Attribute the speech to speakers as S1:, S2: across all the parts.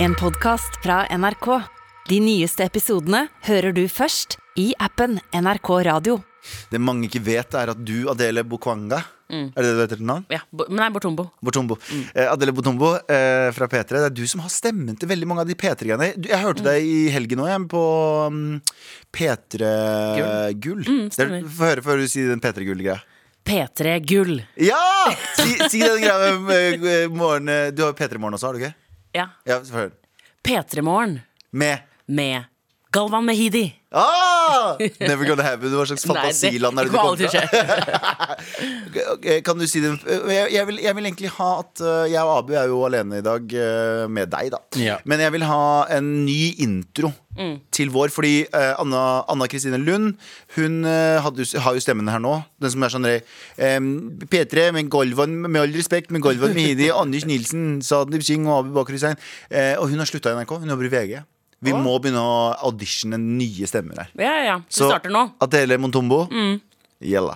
S1: En podcast fra NRK. De nyeste episodene hører du først i appen NRK Radio.
S2: Det mange ikke vet, er at du, Adele Bokwanga
S3: Mm.
S2: Er det det du heter til navn?
S3: Ja, bo- men nei, Bortombo.
S2: Botombo.
S3: Mm.
S2: Eh, Adele Botombo eh, fra P3. Det er du som har stemmen til veldig mange av de P3-greiene. Du- Jeg
S3: Mm.
S2: hørte deg i helgen òg, på mm, P3 Gull.
S3: Mm,
S2: Det er-
S3: stemmer.
S2: Få høre før du sier den P3 Gull-greia.
S3: P3 Gull.
S2: Ja! Si, si den greia med eh, morgen eh, Du har jo P3 Morgen også, har du ikke?
S3: Ja.
S2: Ja, få høre.
S3: P3 Morgen
S2: Med
S3: med Galvan Mehidi.
S2: ah! Never Gonna Happen. Hva slags fantasiland er
S3: Nei,
S2: det
S3: det
S2: du
S3: kommer
S2: kommer
S3: aldri
S2: fra?
S3: til å skje.
S2: Ok, Kan du si det? Jeg, jeg, vil, jeg vil egentlig ha at eh, Jeg og Abu er jo alene i dag eh, med deg, da.
S4: Ja.
S2: Men jeg vil ha en ny intro
S3: Mm.
S2: til vår. Fordi eh, Anna, Anna Kristine Lund Hun eh, hadde, jo- har jo stemmen her nå. Den som er sånn eh, P3 med Golvan, med all respekt, med Golvan Mehidi, Anders Nilsen, Sadnib Singh og Abu Bakr Hussein. Eh, og hun har slutta i NRK. Hun jobber i VG. Vi må begynne å auditione nye stemmer her.
S3: Ja, ja, ja. Vi starter nå. Mm.
S2: Adele Montombo, gjella.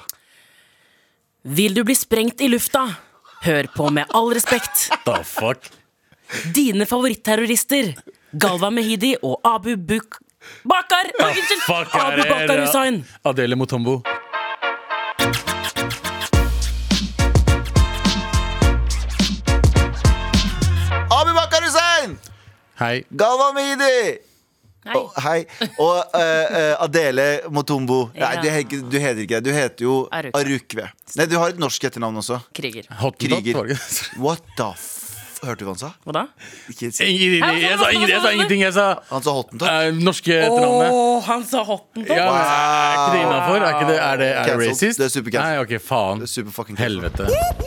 S3: Vil du bli sprengt i lufta? Hør på Med all respekt.
S4: The fuck?
S3: Dine favorittterrorister. Galvan Mehidi og Abu Buk... Bakar! Oi, Unnskyld!
S4: Fuck er
S3: Abu
S4: det?
S3: Bakar Hussein.
S4: Adele Motombo.
S2: Abu Bakar Hussein!
S4: Hei.
S2: Galvan Mehidi!
S3: Hei.
S2: Og- hei. Og eh, eh, Adele Motombo. Nei,
S3: Ja.
S2: du, he- du heter ikke det. Du heter jo
S3: Arukve.
S2: Arukve. Nei, du har et norsk etternavn også.
S3: Kriger.
S2: Kriger.
S4: Hottentott, var det ikke?
S2: What the f... Hørte du hva han sa?
S3: Hva da?
S2: Ikke si.
S4: Ingen- Jeg sa ingenting, jeg sa ingenting. Jeg sa
S2: Han sa hottentott.
S4: eh, norske
S3: Å,
S4: etternavnet.
S3: han sa hotten
S4: Ja, men er ikke det innafor? Er ikke det, er det, er det
S2: Cancelled.
S4: racist?
S2: Det er supercancelled.
S4: Nei, ok, faen.
S2: Det er superfucking cancelled.
S4: Helvete.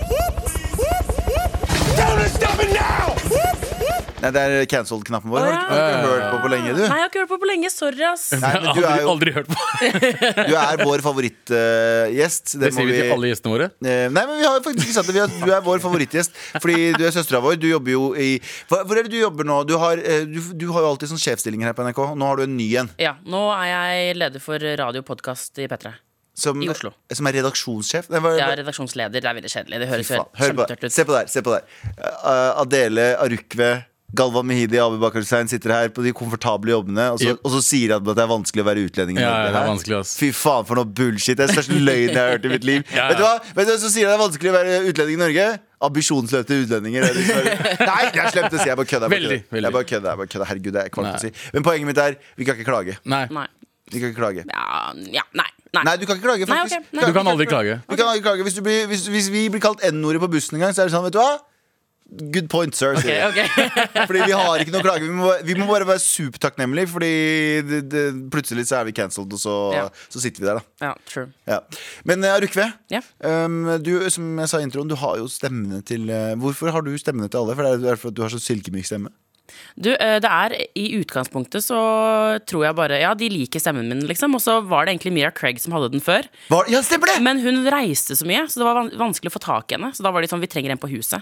S2: Nei, det er cancelled-knappen vår.
S3: Å,
S2: Har du
S3: ja.
S2: ikke- har du ikke hørt på på lenge,
S3: Nei,
S2: du?
S3: jeg har ikke hørt på på lenge. Sorry, ass.
S2: Nei,
S4: Jeg
S2: men
S4: har
S2: du er
S4: aldri,
S2: jo
S4: aldri hørt på det.
S2: du er vår eh, favorittgjest.
S4: Det sier vi til alle gjestene våre.
S2: Eh, Nei, men vi har faktisk ikke sagt det. Vi har- Du er vår favorittgjest. Fordi du er søstera vår. Du jobber jo i Hva- Hvor er det du jobber nå? Du har, eh, du, du har jo alltid sånn sjefsstillinger her på NRK. og Nå har du en ny en.
S3: Ja, nå er jeg leder for radio og podkast i P3.
S2: Som,
S3: I Oslo.
S2: Som er redaksjonssjef. Nei, hva-
S3: Jeg er redaksjonsleder. Det er veldig kjedelig. Det høres
S2: Fy
S3: jo
S2: faen. Hør på
S3: kjempetørt
S2: der.
S3: ut.
S2: Se på der. Se på der. Eh, Adele Arukve. Galvan Mehidi Abu Bakar Hussein sitter her på de komfortable jobbene, og så,
S4: Yep.
S2: og så sier de at det er vanskelig å være utlending. i
S4: Ja,
S2: Norge
S4: det er
S2: her.
S4: vanskelig, ass.
S2: Fy faen, for noe bullshit. Det er den største løgnen jeg har hørt i mitt liv.
S4: Ja.
S2: Vet du hva? Vet du hvem som sier det er vanskelig å være utlending i Norge? Ambisjonsløse utlendinger. er det som er- Nei, det er slemt å si. Jeg bare kødder. jeg bare
S4: Veldig,
S2: kødder.
S4: veldig.
S2: Jeg bare kødder. jeg bare kødder. Herregud, det er kvart å
S4: Nei.
S2: si. Men poenget mitt er, vi kan ikke klage.
S4: Nei.
S3: Nei.
S2: Vi kan ikke klage.
S3: Ja, ja nei. Nei.
S2: Nei, du kan ikke klage,
S3: Nei,
S2: faktisk.
S3: ok. Nei.
S4: Du kan aldri klage.
S2: Du kan ikke klage. Hvis, du blir, hvis, hvis vi blir kalt N-ordet på bussen en gang, så er det sånn, vet du hva? Good point, sir. sier
S3: Ok,
S2: jeg.
S3: ok.
S2: Fordi vi har ikke noe klage. Vi må, vi må bare være supertakknemlige, fordi det, det, plutselig så er vi cancelled, og så,
S3: Ja.
S2: så sitter vi der, da.
S3: Ja, true.
S2: Ja. Men eh, Rukve,
S3: Ja.
S2: ehm, du, som jeg sa i introen, du har jo stemmene til eh, Hvorfor har du stemmene til alle? For det er fordi du har så silkemyk stemme.
S3: Du, eh, det er I utgangspunktet så tror jeg bare Ja, de liker stemmen min, liksom. Og så var det egentlig Mira Craig som hadde den før.
S2: Hva- Ja, stemmer det!
S3: Men hun reiste så mye, så det var van vanskelig å få tak i henne. Så da var de sånn Vi trenger en på huset.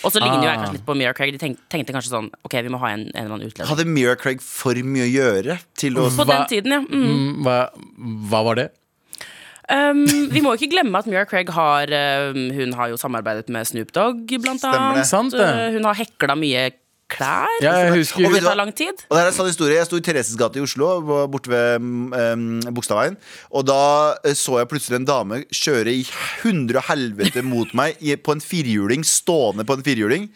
S3: Og så ligner jo jeg
S4: Ah.
S3: kanskje litt på Mira Craig. De tenk tenkte kanskje sånn Ok, vi må ha en, en eller annen utleder.
S2: Hadde Mira Craig for mye å gjøre til å
S3: På den
S4: Hva-
S3: tiden, ja. Mm.
S4: Mm, Hva, hva var det?
S3: Um, vi må jo ikke glemme at Mira Craig har um, Hun har jo samarbeidet med Snoop Dogg, blant
S2: Stemmer det.
S3: annet.
S4: Sant det.
S3: Uh, Hun har hekla mye klær.
S4: Jeg husker
S2: Og
S3: Det
S2: vet du hva?
S3: tar lang tid.
S2: Og det her er en sann historie Jeg sto i Thereses gate i Oslo, hvor- borte ved um, Bogstadveien. Og da eh, så jeg plutselig en dame kjøre i hundre og helvete mot meg i, på en firhjuling. Stående på en firhjuling.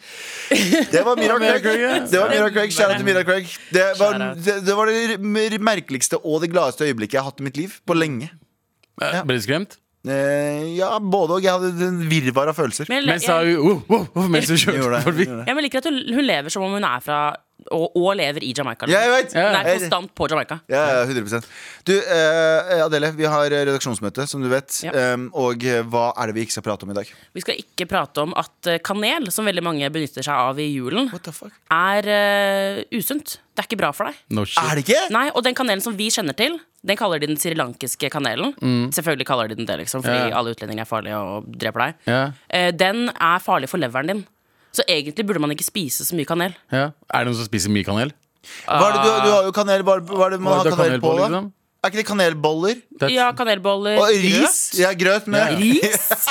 S2: Det var Mira
S4: Mira
S2: Craig.
S4: Craig, ja.
S2: Det var Mira Craig. Kjære til Mira Craig. Det var
S3: Shout out.
S2: det, det, var det mer- merkeligste og det gladeste øyeblikket jeg har hatt i mitt liv. På lenge.
S4: Eh,
S2: Ja.
S4: Ble du skremt?
S2: Eh, ja, både og. Jeg hadde en virvar av følelser.
S3: Men,
S4: Mens sa
S3: jeg,
S4: hun oh, oh, oh, Mens hun kjørte
S2: Gjorde det,
S4: forbi.
S2: gjorde det.
S3: jeg, men liker at hun, hun lever som om hun er fra og, og lever i Jamaica.
S2: Ja, jeg vet.
S3: Hun er
S2: Jeg-
S3: konstant på Jamaica.
S2: Ja, ja, 100 Du, eh, Adele, vi har redaksjonsmøte, som du vet.
S3: Ja.
S2: Eh, og eh, hva er det vi ikke skal prate om i dag?
S3: Vi skal ikke prate om at eh, kanel, som veldig mange benytter seg av i julen,
S2: What the fuck?
S3: er eh, usunt. Det er ikke bra for deg.
S4: No
S2: Er
S4: shit.
S2: det ikke?
S3: Nei, Og den kanelen som vi kjenner til, den kaller de den srilankiske kanelen.
S2: Mm.
S3: Selvfølgelig kaller de den det, liksom, fordi
S4: Ja.
S3: alle utlendinger er farlige og dreper deg.
S4: Ja,
S3: Eh, Den er farlig for leveren din. Så egentlig burde man ikke spise så mye kanel.
S4: ja. Er det noen som spiser mye kanel?
S2: Hva er det du, du har jo kanel Hva hva er det man
S4: Hva er
S2: har
S4: det du har
S2: kanel
S4: kanel
S2: på,
S4: på,
S2: da?
S4: liksom?
S2: Er ikke det kanelboller?
S4: Det er-
S3: Ja, kanelboller.
S2: Og ris? Ja, grøt med
S4: Ja.
S3: Ris?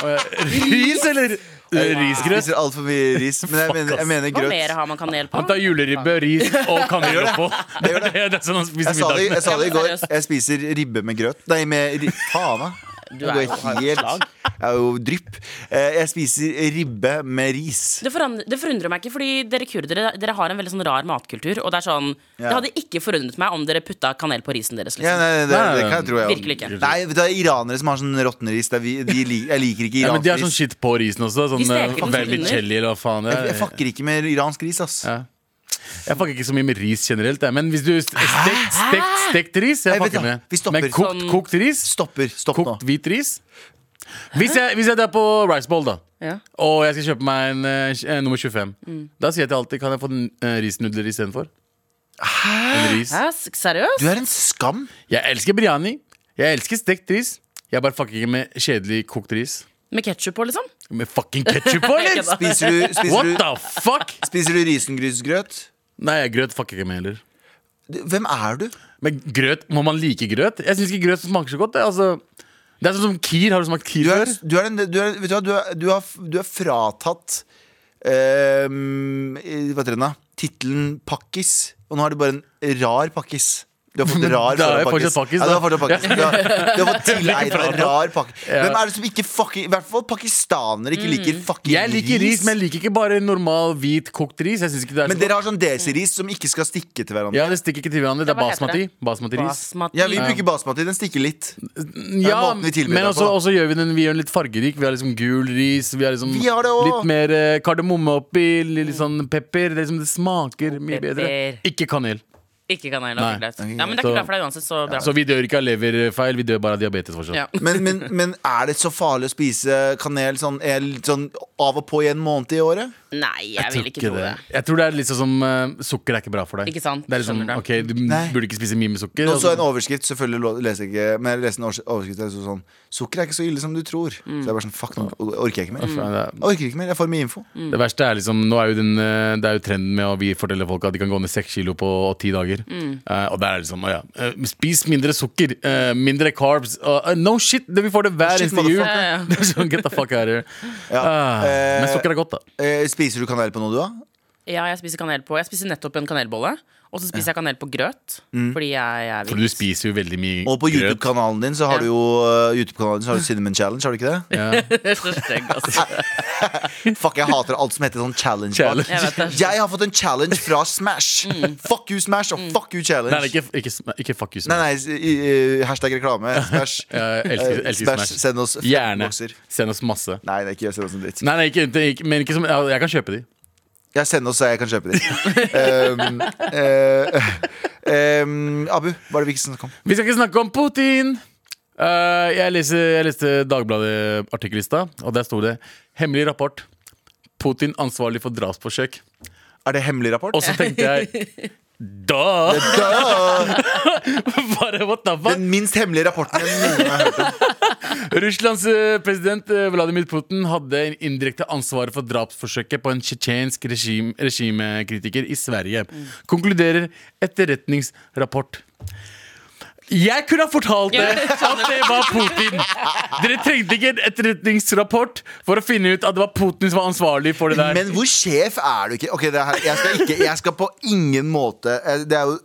S4: Ris, eller? Eh, Risgrøt?
S2: Spiser altfor mye ris. Men jeg mener, jeg mener
S3: Hva mer
S2: grøt.
S3: har man kanel på?
S4: Han tar juleribbe, ris og kanel oppå. Det er det, det er sånn han
S2: Jeg
S4: spiser
S2: sa, det, jeg
S4: middag.
S2: sa det i går.
S3: Seriøst.
S2: Jeg spiser ribbe med grøt. Nei, med ri- faen, da.
S3: Du
S2: Jeg
S3: er
S2: går
S3: jo hard
S2: helt-
S3: slag.
S2: Jeg er jo drypp. Eh, Jeg spiser ribbe med ris.
S3: Det, foran- det forundrer meg ikke, fordi dere kurdere dere har en veldig sånn rar matkultur. Og Det er sånn, det
S2: Ja.
S3: hadde ikke forundret meg om dere putta kanel på risen deres.
S2: Ja,
S3: Liksom.
S2: nei, det, det kan jeg tro jeg
S3: Virkelig ikke.
S2: Nei, vet du, det er iranere som har sånn råtneris. Det er vi- de li- Jeg liker ikke
S4: Ja, men de har
S2: iransk ris.
S4: sånn shit på risen også. Sånn
S3: De steker
S4: eh,
S3: den sånn
S4: vermicelli eller hva faen det
S2: Jeg, jeg
S4: er.
S2: fucker ikke med iransk ris, ass.
S4: Ja. Jeg fucker ikke så mye med ris generelt, jeg, men hvis du st- stekt, stekt, stekt ris
S2: Nei,
S4: Jeg
S2: vet du,
S4: fucker med.
S2: vi stopper.
S4: Men kokt,
S3: Sånn-
S4: kokt ris?
S2: Stopper. Stopp nå.
S4: Kokt hvit ris? Hvis jeg, hvis jeg er på Rice Bowl, da,
S3: Ja.
S4: og jeg skal kjøpe meg en eh, tj- eh, nummer 25,
S2: Mm.
S4: da sier jeg til alltid kan jeg få den, eh, risnudler istedenfor? Eller ris.
S3: Hæ, s- seriøst?
S2: Du er en skam.
S4: Jeg elsker biryani. Jeg elsker stekt ris. Jeg bare fucker ikke med kjedelig kokt ris.
S3: Med ketsjup på, liksom?
S4: Med fucking ketsjup på, eller?
S3: Ikke da.
S2: Spiser du, spiser
S4: What
S2: du,
S4: the fuck?
S2: spiser du risengrynsgrøt?
S4: Nei, grøt fucker jeg ikke med heller.
S2: Du- Hvem er du?
S4: Men grøt, må man like grøt? Jeg syns ikke grøt smaker så godt. Det, altså, det er sånn som Kir. Har du smakt Kir
S2: Du er,
S4: før?
S2: du er, en, du er, vet du, hva, du er, du har, du er fratatt ehm, i- Hva heter den da? Tittelen pakkis. Og nå har du bare en rar pakkis. Du har fått rar
S4: Da er jeg
S2: foran
S4: fortsatt
S2: Ja,
S4: pakkis,
S2: du
S4: da.
S2: har fortsatt pakkis. Du har, du har fått tilegnet
S4: fratatt.
S2: en rar pakkis.
S4: Ja. Mm.
S2: Hvem er det som ikke fucking I hvert fall pakistanere ikke liker fucking
S4: Jeg liker ris, men jeg liker ikke bare normal hvit kokt ris. Jeg synes ikke det er
S2: Men
S4: så godt
S2: dere har sånn desiris som ikke skal stikke til hverandre.
S4: ja, Det stikker ikke til hverandre. Det er
S3: Ja, hva heter
S4: basmati.
S3: det?
S4: Basmati-ris.
S3: Basmati.
S2: Ja, vi bruker basmati. Den stikker litt.
S4: Ja,
S2: måten vi tilbereder det
S4: men
S2: på,
S4: også,
S2: da.
S4: også gjør vi den Vi gjør den litt fargerik. Vi har liksom gul ris. Vi har liksom
S2: Vi har det også.
S4: litt mer eh, kardemomme oppi. Litt sånn pepper. Det, er liksom, det smaker mye bedre.
S3: Pepper.
S4: Ikke kanel.
S3: Ikke kanel.
S4: Nei.
S3: det er greit. Ja, men det er
S4: Så-
S3: ikke bra for deg uansett, så bra.
S4: Så vi dør ikke av leverfeil. Vi dør bare av diabetes fortsatt.
S3: Ja.
S2: Men, men, men er det så farlig å spise kanel sånn, er litt sånn av og på i en måned i året?
S3: Nei, jeg,
S4: tror
S3: vil ikke tro det.
S4: Jeg tror det er litt sånn som eh, sukker er ikke bra for deg.
S3: Ikke sant?
S4: Det er litt sånn,
S3: Skjønner
S4: ok, Du
S2: Nei.
S4: burde ikke spise mye med sukker.
S2: Nå så
S4: altså.
S2: jeg en overskrift, selvfølgelig lo- leser jeg ikke Men jeg leser en overs- overskrift der det sto sånn Sukker er ikke så ille som du tror.
S4: Mm.
S2: Så jeg bare sånn, fuck, nå orker jeg ikke mer.
S4: Faen, det er-
S2: Jeg orker ikke mer, jeg får mye info.
S4: Det verste er liksom, nå er jo den, eh, det er jo trenden med å vi forteller folk at de kan gå ned seks kilo på ti dager. Eh, og der er det liksom, å ja, eh, spis mindre sukker, eh, mindre carbs. og, eh, no shit, det, vi får det hver
S2: Shit,
S4: eneste jul.
S3: motherfucker. Ja, ja.
S4: Det er sånn, get the fuck out of here.
S2: Ja.
S4: Ah,
S2: Eh,
S4: men sukker er godt, da.
S2: eh, spiser du kanel på noe, du, da?
S3: Ja, jeg spiser kanel på Jeg spiser nettopp en kanelbolle, og så spiser jeg kanel på grøt.
S2: Mm.
S3: Fordi jeg, jeg
S4: For
S3: vil
S4: du spiser jo veldig mye
S2: Og på
S4: grøt.
S2: YouTube-kanalen din så har
S3: Ja.
S2: du jo eh, YouTube-kanalen din så har du Cinnamon Challenge, har du ikke det?
S3: Det er så stygg, altså.
S2: Fuck, jeg hater alt som heter sånn challenge.
S4: Challenge. Mm.
S3: Jeg vet det.
S2: Jeg har fått en challenge fra Smash. Fuck you, Smash, og fuck you, challenge.
S4: Nei, nei, ikke, ikke, sm- ikke fuck you,
S2: Nei,
S4: Smash.
S2: nei, s- i- i- hashtag reklame. Smash.
S4: Jeg elsker,
S2: Eh,
S4: elsker
S2: Smash,
S4: Smash.
S2: send oss
S4: Gjerne.
S2: bokser.
S4: Send oss masse.
S2: Nei, det er ikke send oss en dritt.
S4: Nei, nei, ikke, ikke, men ikke som, ja, jeg kan kjøpe de.
S2: Jeg sender oss, så jeg kan kjøpe de. um, eh, um, Abu, hva er det viktigste som kom?
S4: Vi skal ikke snakke om Putin! Eh, jeg, leser, jeg leste Dagbladet-artikkel i stad, og der sto det 'Hemmelig rapport. Putin ansvarlig for drapsforsøk'.
S2: Er det hemmelig rapport?
S4: Og så tenkte jeg Da!
S2: Da,
S4: Bare what the fuck?
S2: den minst hemmelige rapporten jeg noen har hørt om.
S4: Russlands eh, president eh, Vladimir Putin hadde indirekte ansvaret for drapsforsøket på en tsjetsjensk regim, regimekritiker i Sverige. Konkluderer etterretningsrapport. Jeg kunne ha fortalt det at det var Putin! Dere trengte ikke en etterretningsrapport for å finne ut at det var Putin som var ansvarlig for det der.
S2: Men hvor sjef er du ikke? Ok, det her, jeg, skal ikke jeg skal på ingen måte eh, Det er jo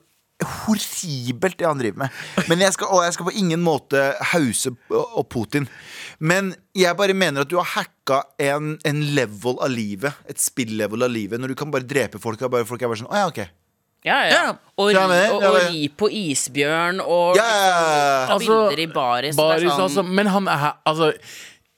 S2: horribelt det han driver med. Men jeg skal, og jeg skal på ingen måte hause p- og Putin. Men jeg bare mener at du har hacka en, en level av livet. Et spill-level av livet. Når du kan bare drepe folk. Og bare, folk er bare sånn, å ja, ok
S3: Ja, ja.
S4: Ja.
S3: Og, ri,
S2: Ja, men-
S3: og,
S2: ja,
S3: og
S2: men-
S3: ri på isbjørn og
S2: Ja, ja, ja, ja.
S3: ta
S4: Altså,
S3: bilder i baris. og det
S4: Baris,
S3: er sånn-
S4: altså, men han er Altså,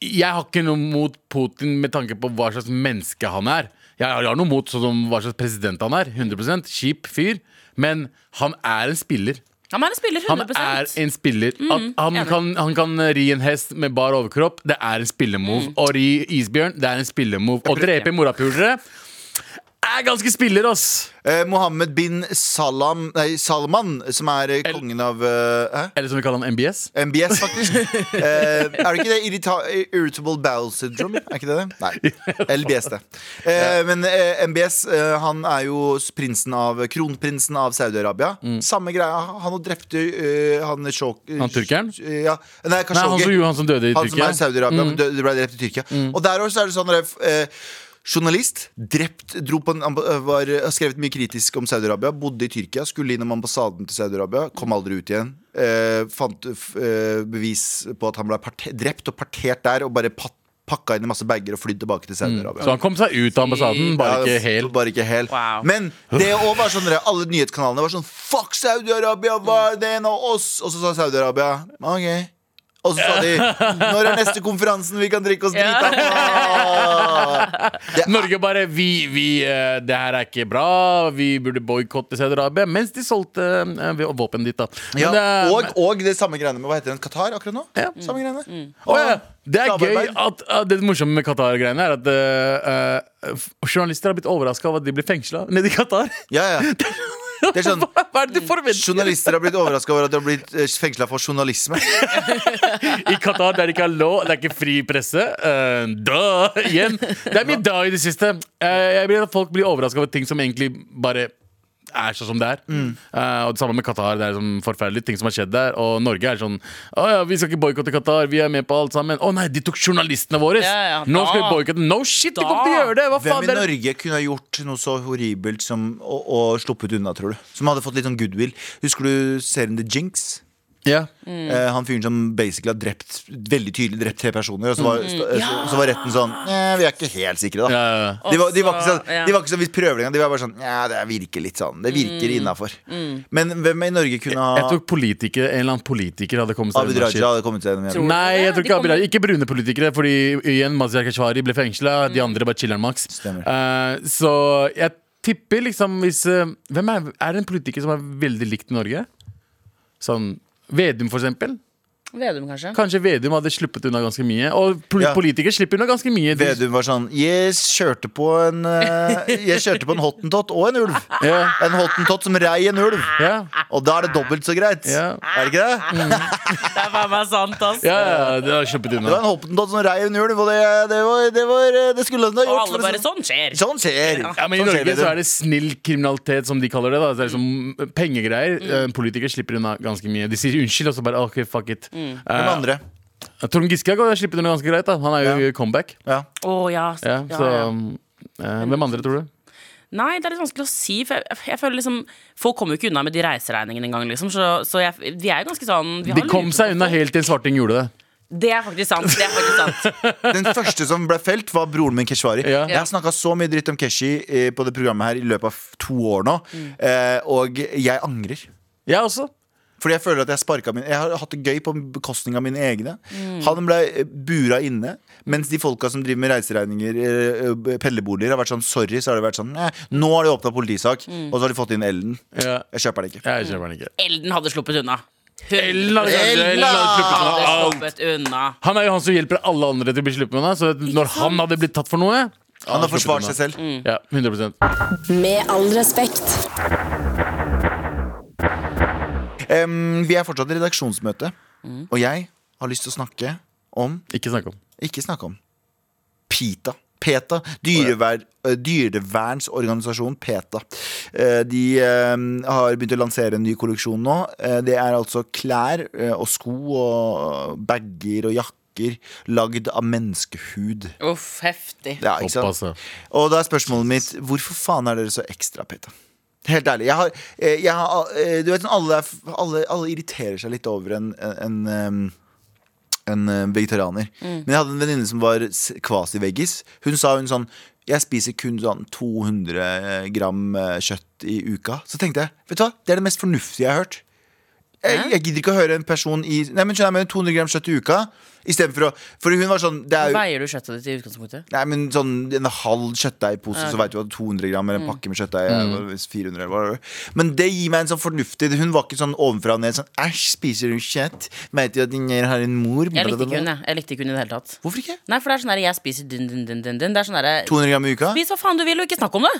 S4: jeg har ikke noe mot Putin med tanke på hva slags menneske han er. Jeg har, jeg har noe mot sånn som hva slags president han er. 100 Kjip fyr. Men han er en spiller.
S3: Han er en spiller, 100
S4: Han er en spiller. At han,
S3: enig.
S4: kan, han kan ri en hest med bar overkropp. Det er en spillermove. Å ri isbjørn, det er en spillermove. Å drepe morapulere er ganske spiller, ass!
S2: Eh, Mohammed bin Salam, nei, Salman, som er eh, kongen av eh, hæ?
S4: Eller som vi kaller han MBS.
S2: MBS, faktisk. Eh, er det ikke det irrita Irritable Bowel Syndrome? Er ikke det det? Nei. LBS, det. Eh, men eh, MBS eh, han er jo s- prinsen av kronprinsen av Saudi-Arabia. Samme greia. Han drepte eh, han Shok...
S4: Mm. Han turkeren?
S2: Ja. Nei,
S4: Nei, han som,
S2: Khashoggi.
S4: jo, han som døde i
S2: Han som
S4: Tyrkia. Mm.
S2: er i Saudi-Arabia, men dø- ble drept i Tyrkia. Og der også er det sånn at, eh, Journalist drept, dro på en, amb- eh, var, har skrevet mye kritisk om Saudi-Arabia. Bodde i Tyrkia, skulle innom ambassaden til Saudi-Arabia. Kom aldri ut igjen. Eh, fant f, eh, bevis på at han ble parte- drept og partert der, og bare pat, pakka inn i masse bager og flydd tilbake til Saudi-Arabia.
S4: Mm. Så han kom seg ut av ambassaden, bare
S2: Ja,
S4: ikke hel.
S2: Bare ikke hel.
S3: Wow.
S2: Men det òg var sånn dere, alle nyhetskanalene var sånn Fuck Saudi-Arabia, hva er det en av oss? Og så sa Saudi-Arabia OK. Og så sa de Når er neste konferansen vi kan drikke oss drita på? Det-
S4: Norge bare vi, vi, eh, Det her er ikke bra, vi burde boikotte Saudi-Arabia. Mens de solgte eh, vi- våpen dit, da. Men,
S2: Ja,
S4: eh,
S2: og, og det samme greiene med Hva heter den? Qatar akkurat nå?
S4: Ja.
S2: Samme greiene.
S4: Å, ja. Det er gøy
S2: Samarbeid.
S4: at, at Det morsomme med Qatar-greiene er at eh, eh, f- journalister har blitt overraska av at de blir fengsla nede i Qatar.
S2: Ja, ja. Det er sånn
S4: Hva hva er det de forventer?
S2: Journalister har blitt overraska over at de har blitt fengsla for journalisme.
S4: I Qatar der det ikke er lov, det er ikke fri presse. Uh, da, igjen. Det er mye da i det siste. Eh, jeg vil at folk blir overraska over ting som egentlig bare er sånn som det er.
S2: Mm.
S4: Eh, og det samme med Qatar. Det er sånn forferdelig ting som har skjedd der. Og Norge er sånn Å ja, vi skal ikke boikotte Qatar, vi er med på alt sammen. Å nei, de tok journalistene våre!
S3: Ja, ja,
S4: Nå skal vi
S3: da.
S4: boikotte. No shit, de
S3: Da.
S4: kommer til å gjøre det! Hva faen?
S2: Hvem i
S4: Det er
S2: Norge kunne ha gjort noe så horribelt som å, å sluppet unna, tror du? Som hadde fått litt sånn goodwill. Husker du serien The Jinx?
S4: Ja.
S3: Mm.
S2: Eh, han fyren som basically har drept veldig tydelig drept tre personer, og så
S3: Mm.
S2: var, st- eh, så, så var retten sånn eh, Vi er ikke helt sikre, da.
S4: Ja, ja, ja.
S2: De var, de var ikke
S3: Også,
S2: sånn,
S3: ja.
S2: de var ikke sånn hvis prøver det engang. De var bare sånn Ja, det virker litt sånn. Det virker
S3: Mm.
S2: innafor. Men hvem i Norge kunne ha
S4: Jeg tror politiker, en eller annen politiker hadde kommet seg
S2: Abid
S4: unna
S2: Raja
S4: shit.
S2: hadde kommet seg gjennom igjen?
S3: Tror-
S4: Nei, jeg
S3: Ja, de
S4: tror ikke Abid
S3: kommer-
S4: Raja. Ikke brune politikere, fordi igjen Mazyar Keshvari ble fengsla.
S3: Mm.
S4: De andre bare chiller'n maks.
S2: Stemmer.
S4: Eh, så jeg tipper liksom hvis eh, Hvem er, er det en politiker som er veldig likt i Norge? Sånn Vedum, for eksempel.
S3: Vedum, kanskje?
S4: Kanskje Vedum hadde sluppet unna ganske mye. Og pol
S2: Ja.
S4: politikere slipper unna ganske mye. De-
S2: Vedum var sånn Jeg kjørte på en eh, Jeg kjørte på en hottentott og en ulv.
S4: Ja,
S2: En hottentott som rei en ulv.
S4: ja,
S2: Og da er det dobbelt så greit.
S4: ja.
S2: Er det ikke det?
S3: Det er faen meg sant, ass.
S4: Ja, ja, det har sluppet
S2: Det var
S4: unna.
S2: en hottentott som rei en ulv, og det, det, var, det, var, eh, det skulle han ha
S3: Og
S2: gjort.
S3: alle
S2: for å si-
S3: bare Sånn skjer!
S2: Sånn skjer.
S4: Ja, men I
S2: sånn
S4: Norge
S2: skjer
S4: så er det snill kriminalitet, som de kaller det. da Det er
S3: Mm.
S4: liksom Pengegreier. Eh, Politikere slipper unna ganske mye. De sier unnskyld, og så bare OK, fuck it.
S3: Mm.
S4: Eh,
S2: Hvem andre?
S4: Trond Giske har gått- slippet unna ganske greit. da Han er jo i comeback.
S2: Ja.
S3: Å ja.
S4: Ja,
S3: ja,
S4: så
S3: ja.
S4: eh, Hvem andre, tror du?
S3: Nei, det er litt vanskelig å si. For jeg, jeg føler liksom Folk kommer jo ikke unna med de reiseregningene engang, liksom. Så, så jeg, vi er jo ganske sånn vi har
S4: De kom
S3: lurt på
S4: seg unna
S3: folk.
S4: helt til en svarting gjorde det.
S3: Det er faktisk sant. Det er faktisk sant.
S2: Den første som ble felt, var broren min Keshvari.
S4: Ja.
S2: Jeg har snakka så mye dritt om Keshi eh, på det programmet her i løpet av to år nå, eh, og jeg angrer.
S4: Jeg også.
S2: Fordi jeg føler at jeg sparka min Jeg har hatt det gøy på bekostning av mine egne. Han ble eh, bura inne, mens de folka som driver med reiseregninger, eh, eh, pendlerboliger, har vært sånn sorry, så har det vært sånn eh, Nå har de åpna politisak, og så har de fått inn Ellen.
S4: Ja.
S2: Jeg kjøper det ikke.
S4: Jeg kjøper den ikke.
S3: Elden hadde sluppet unna. Hun
S4: Ellen hadde- Ellen hadde sluppet unna
S3: hadde
S4: alt.
S3: sluppet unna.
S4: Han er jo han som hjelper alle andre til å bli sluppet unna. Så når han hadde blitt tatt for noe
S2: Han har
S4: sluppet
S2: forsvart
S4: unna.
S2: seg selv.
S4: Ja, 100
S1: Med all respekt.
S2: Em, vi er fortsatt i redaksjonsmøte, og jeg har lyst til å snakke om
S4: Ikke snakk om.
S2: Ikke snakke om PITA. PETA. Dyrever, eh, dyrevernsorganisasjonen PETA. Eh, De eh, har begynt å lansere en ny kolleksjon nå. Eh, Det er altså klær eh, og sko og bager og jakker lagd av menneskehud.
S3: Uff, heftig.
S2: Ja, ikke sant?
S4: Opp, altså.
S2: Og da er spørsmålet mitt Hvorfor faen er dere så ekstra, Peter? Helt ærlig. Jeg har, eh, jeg har eh, Du vet sånn alle, er- alle, alle irriterer seg litt over en, en, em, en eh, vegetarianer. Men jeg hadde en venninne som var s- kvasi-veggis. Hun sa hun sånn Jeg spiser kun sånn eh, 200 gram eh, kjøtt i uka. Så tenkte jeg, vet du hva, det er det mest fornuftige jeg har hørt. Jeg, jeg gidder ikke å høre en person i Nei, men skjønner jeg mener 200 gram kjøtt i uka. I stedet for å For hun var sånn det er jo,
S3: Veier du kjøttet ditt i utgangspunktet?
S2: Nei, men sånn en halv kjøttdeigpose, så vet du at 200 gram
S3: Mm.
S2: eller en pakke med kjøttdeig er 400 eller whatever. Men det gir meg en sånn fornuftig Hun var ikke sånn ovenfra og ned sånn Æsj, spiser du kjøtt? Vet du at din gjær har en mor?
S3: Jeg likte ikke hun, jeg. jeg likte ikke hun i det hele tatt.
S2: Hvorfor ikke?
S3: Nei, for det er sånn her, jeg spiser dun, dun, dun, dun, dun. Det er sånn her,
S2: 200 gram i uka?
S3: spis hva faen du vil, og ikke snakk om det!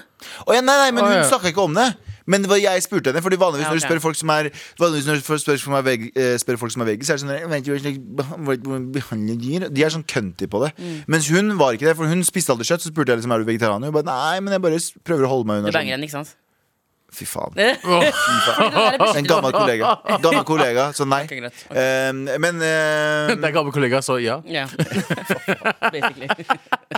S2: Å ja, nei, nei, men
S4: Å,
S2: hun
S4: ja.
S2: snakka ikke om det. Men det var jeg spurte henne. Fordi vanligvis
S3: Ja,
S2: når
S3: ok.
S2: du spør folk som er Vanligvis når du spør, spør, folk som er veg, eh, spør folk som er veggie, så er det sånn jeg vet ikke hva slags beha- hvordan behandler dyr De er sånn cunty på det.
S3: Mm.
S2: Mens hun var ikke det, for hun spiste aldri kjøtt. Så spurte jeg liksom er du vegetarianer. Hun bare nei, men jeg bare s- prøver å holde meg
S3: Du
S2: unna. Sånn.
S3: banger henne, ikke sant?
S2: Fy faen.
S3: Fordi det der er
S2: En
S3: beskyttelse.
S2: gammel kollega. Gammel kollega, så nei.
S3: Ok, greit. Ok.
S2: Eh, men eh,
S4: Det er gammel kollega, så ja.
S3: Ja. Basically.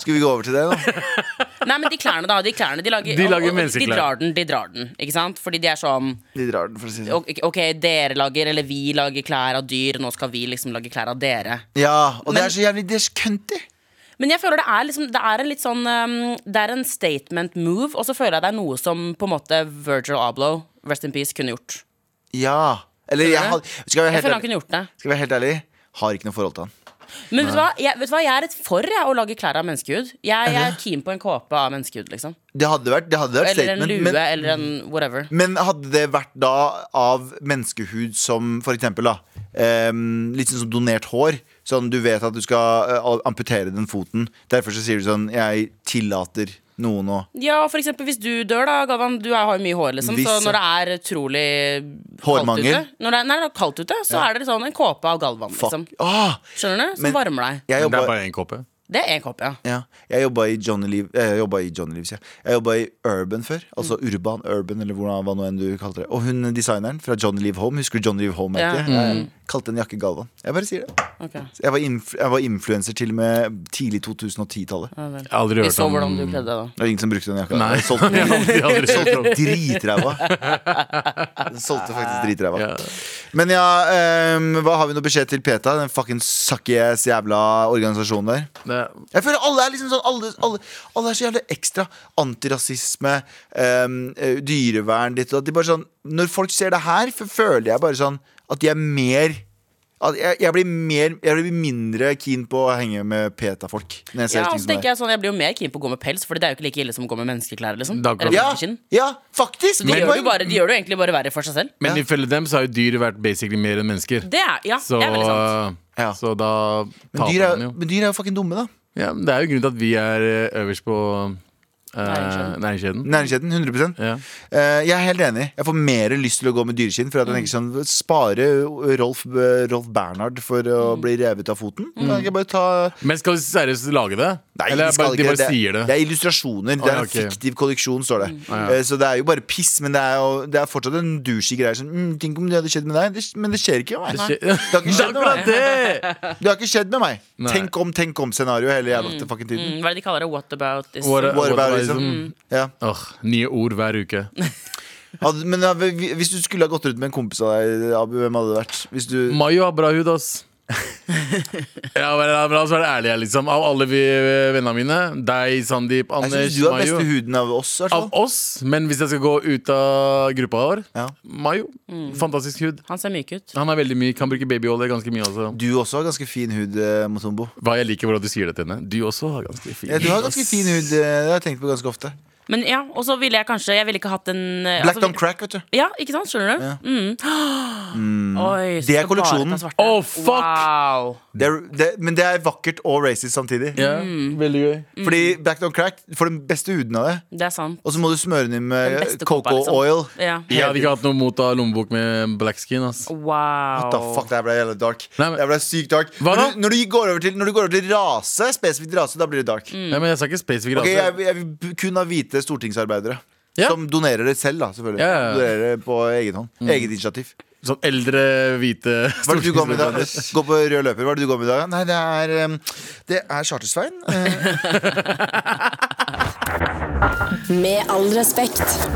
S2: skal vi gå over til det, da?
S3: Nei, men de klærne, da. De klærne, de lager,
S4: De lager
S3: og- og-
S4: menneskeklær.
S3: De drar den, de drar den. Ikke sant? Fordi de er sånn
S2: De drar den, for å si det sånn.
S3: Ok, ok, dere lager, eller vi lager klær av dyr, nå skal vi liksom lage klær av dere.
S2: Ja, og det er så jævlig Det er så cunty.
S3: Men jeg føler det er liksom Det er en litt sånn um, Det er en statement move, og så føler jeg det er noe som på en måte Virgil Abloh, rest in peace, kunne gjort.
S2: Ja. Eller jeg,
S3: du?
S2: had- skal jeg være
S3: Jeg
S2: helt
S3: føler han
S2: ærlig-
S3: kunne gjort det.
S2: skal jeg være helt ærlig, har ikke noe forhold til han.
S3: Men vet du, hva? Jeg, vet du hva, jeg er rett for jeg, å lage klær av menneskehud. Jeg, jeg er keen på en kåpe av menneskehud, liksom.
S2: Det hadde vært, det hadde vært
S3: Eller en
S2: statement.
S3: lue,
S2: men,
S3: eller en whatever.
S2: men hadde det vært da av menneskehud som for eksempel da em, Litt sånn som donert hår. Sånn du vet at du skal eh, amputere den foten. Derfor så sier du sånn Jeg tillater noen å
S3: Ja, for eksempel hvis du dør, da, Gavan. Du er- har jo mye hår, liksom.
S2: Hvis-
S3: Så når det er utrolig
S2: Hårmangel.
S3: kaldt ute, når det er, nei, når det er kaldt ute, så er det sånn en kåpe av Galvan,
S2: Fuck.
S3: liksom.
S2: Ah,
S3: Skjønner du? Som
S2: Men-
S3: varmer deg.
S2: jeg
S4: Men det
S2: jobba,
S4: er bare én kåpe.
S3: Det er en kåpe, ja.
S2: ja, jeg jobba i Johnny Leave eh, Jeg jobba i Johnny Leave, sier jeg. Jeg jobba i Urban før. Altså
S3: Mm.
S2: Urban, Urban eller hvordan, hva nå enn du kalte det. Og hun designeren fra Johnny Leave Home, husker du Johnny Leave Home?
S3: Ja. Mm.
S2: Ja. Kalte en jakke Galvan. Jeg bare sier det.
S3: Ok.
S2: Jeg var, inf jeg var influenser til og med tidlig 2010-tallet. Det
S4: Jeg har aldri
S3: Vi
S4: hørt
S3: så
S2: sånn
S4: om
S3: hvordan du kledde deg da.
S2: var ingen som brukte den jakka.
S4: Nei.
S2: Jeg solgte,
S4: Jeg har aldri- aldri hørt om.
S2: solgte dritræva. Jeg solgte faktisk dritræva.
S4: Ja.
S2: Men ja, ehm, hva har vi noe beskjed til PETA? Den fucking sucky ass jævla organisasjonen der.
S4: Det er-
S2: Jeg føler alle er liksom sånn Alle, alle, alle er så jævlig ekstra antirasisme, ehm, eh, dyrevern ditt og at de bare sånn Når folk ser det her, f- føler jeg bare sånn at de er mer at jeg, jeg, blir mer, jeg blir mindre keen på å henge med PETA-folk. Når jeg ser
S3: Ja,
S2: ting
S3: og så
S2: som det.
S3: tenker jeg sånn, jeg blir jo mer keen på å gå med pels, Fordi det er jo ikke like ille som å gå med menneskeklær. liksom
S4: Det er akkurat
S3: Eller
S4: det.
S2: Ja,
S3: menneskeskinn.
S2: ja faktisk!
S3: De
S2: Godt
S3: gjør, det
S2: poeng.
S3: jo bare, de gjør det jo egentlig bare verre for seg selv.
S4: Men
S2: Ja.
S4: ifølge dem så har jo dyr vært basically mer enn mennesker.
S3: Det er, ja,
S4: Så, eh,
S3: det er veldig sant.
S2: Ja.
S4: så da
S2: men, dyr
S4: taper
S2: er,
S4: man jo.
S2: men dyr er jo fucking dumme, da.
S4: Ja, men det er jo grunnen til at vi er eh, øverst på eh,
S3: Næringskjeden.
S4: næringskjeden.
S2: Næringskjeden. 100
S4: Ja.
S2: Eh, Jeg er helt enig. Jeg får mer lyst til å gå med dyreskinn. For at jeg tenker sånn, Spare eh, Rolf, Rolf Bernhard for å bli revet av foten. Kan ikke jeg bare ta
S4: Men skal vi seriøst lage det?
S2: Nei,
S4: Eller
S2: de skal
S4: bare, de
S2: ikke
S4: bare
S2: det.
S4: sier det?
S2: Det er illustrasjoner. Det er
S4: ja,
S2: en
S4: ok.
S2: fiktiv kolleksjon, står det. Eh, Så det er jo bare piss, men det er, jo, det er fortsatt en douchey greie. Sånn, mm, tenk om det hadde skjedd med deg. Det, men det skjer ikke med meg.
S4: skjer- det
S2: har ikke
S4: er
S2: skjedd med
S4: akkurat det!
S2: Det har ikke skjedd med meg.
S4: Nei.
S2: Tenk om, tenk om-scenario hele jævla fucking tiden.
S3: Mm, Hva er det de kaller det? What about this?
S4: What-
S2: What about
S4: about
S2: it, liksom?
S4: ism?
S2: Ja.
S4: Åh, nye ord hver uke.
S2: Hadde, men ja, vi- hvis du skulle ha gått rundt med en kompis av deg, Abu, hvem hadde det vært? Hvis du
S4: Mayo har bra hud, ass. Ja, men la la oss være ærlige, her, liksom. Av alle vi vennene mine. Deg, Sandeep,
S2: Jeg
S4: Anders,
S2: synes du har
S4: Mayo.
S2: beste huden av oss. i hvert
S4: Av
S2: fall.
S4: oss, men hvis jeg skal gå ut av gruppa vår
S2: Ja.
S4: Mayo. Fantastisk hud.
S3: Han ser myk ut.
S4: Han er veldig mye, kan bruke babyolje ganske mye også.
S2: Du også har ganske fin hud, eh, Motombo.
S4: Hva jeg liker hvordan du sier det til henne. Du også har ganske fin
S2: Ja, du har
S4: hud,
S2: ganske
S4: ass.
S2: fin hud, eh, det har jeg tenkt på ganske ofte.
S3: Men ja, og så ville jeg kanskje Jeg ville ikke hatt en eh,
S2: Black
S3: altså,
S2: on crack, vet du.
S3: Ja, ikke sant? Skjønner du? Mm. Oi, så
S2: Det er
S3: skal bare ta
S2: kolleksjonen.
S3: svarte.
S4: Åh, fuck!
S3: Wow.
S2: Det er, det, men det er vakkert og racist samtidig.
S4: Ja, veldig gøy.
S2: Fordi black on crack får den beste huden av det.
S3: Det er sant.
S2: Og så må du smøre den inn med
S3: Den beste
S2: coco
S3: koppa, liksom.
S2: oil.
S3: Ja.
S4: Jeg hadde ikke hatt noe mot å ha lommebok med black skin. ass
S3: Wow.
S2: What the fuck, det her ble jævla dark.
S4: Nei, men-
S2: det her ble sykt dark.
S4: Hva da?
S2: Når, du, når, du går over til, når du går over til rase, spesifikt rase, da blir det dark.
S4: Nei, men Jeg sa ikke
S2: Mm.
S4: spesifikk
S2: Ok,
S4: rase.
S2: jeg, jeg vil b- kun ha hvite stortingsarbeidere.
S4: Ja.
S2: Som donerer det selv, da, selvfølgelig.
S4: Ja, Mm. ja, ja.
S2: Donerer det på egen hånd. Eget initiativ.
S4: Sånn eldre, hvite
S2: Hva er det du går med i dag?
S4: stortingsrepresentanter.
S2: Gå på rød løper. Hva er det du går med i dag? Nei, det er, um, det er Chartersvein. Eh,
S5: Med all respekt.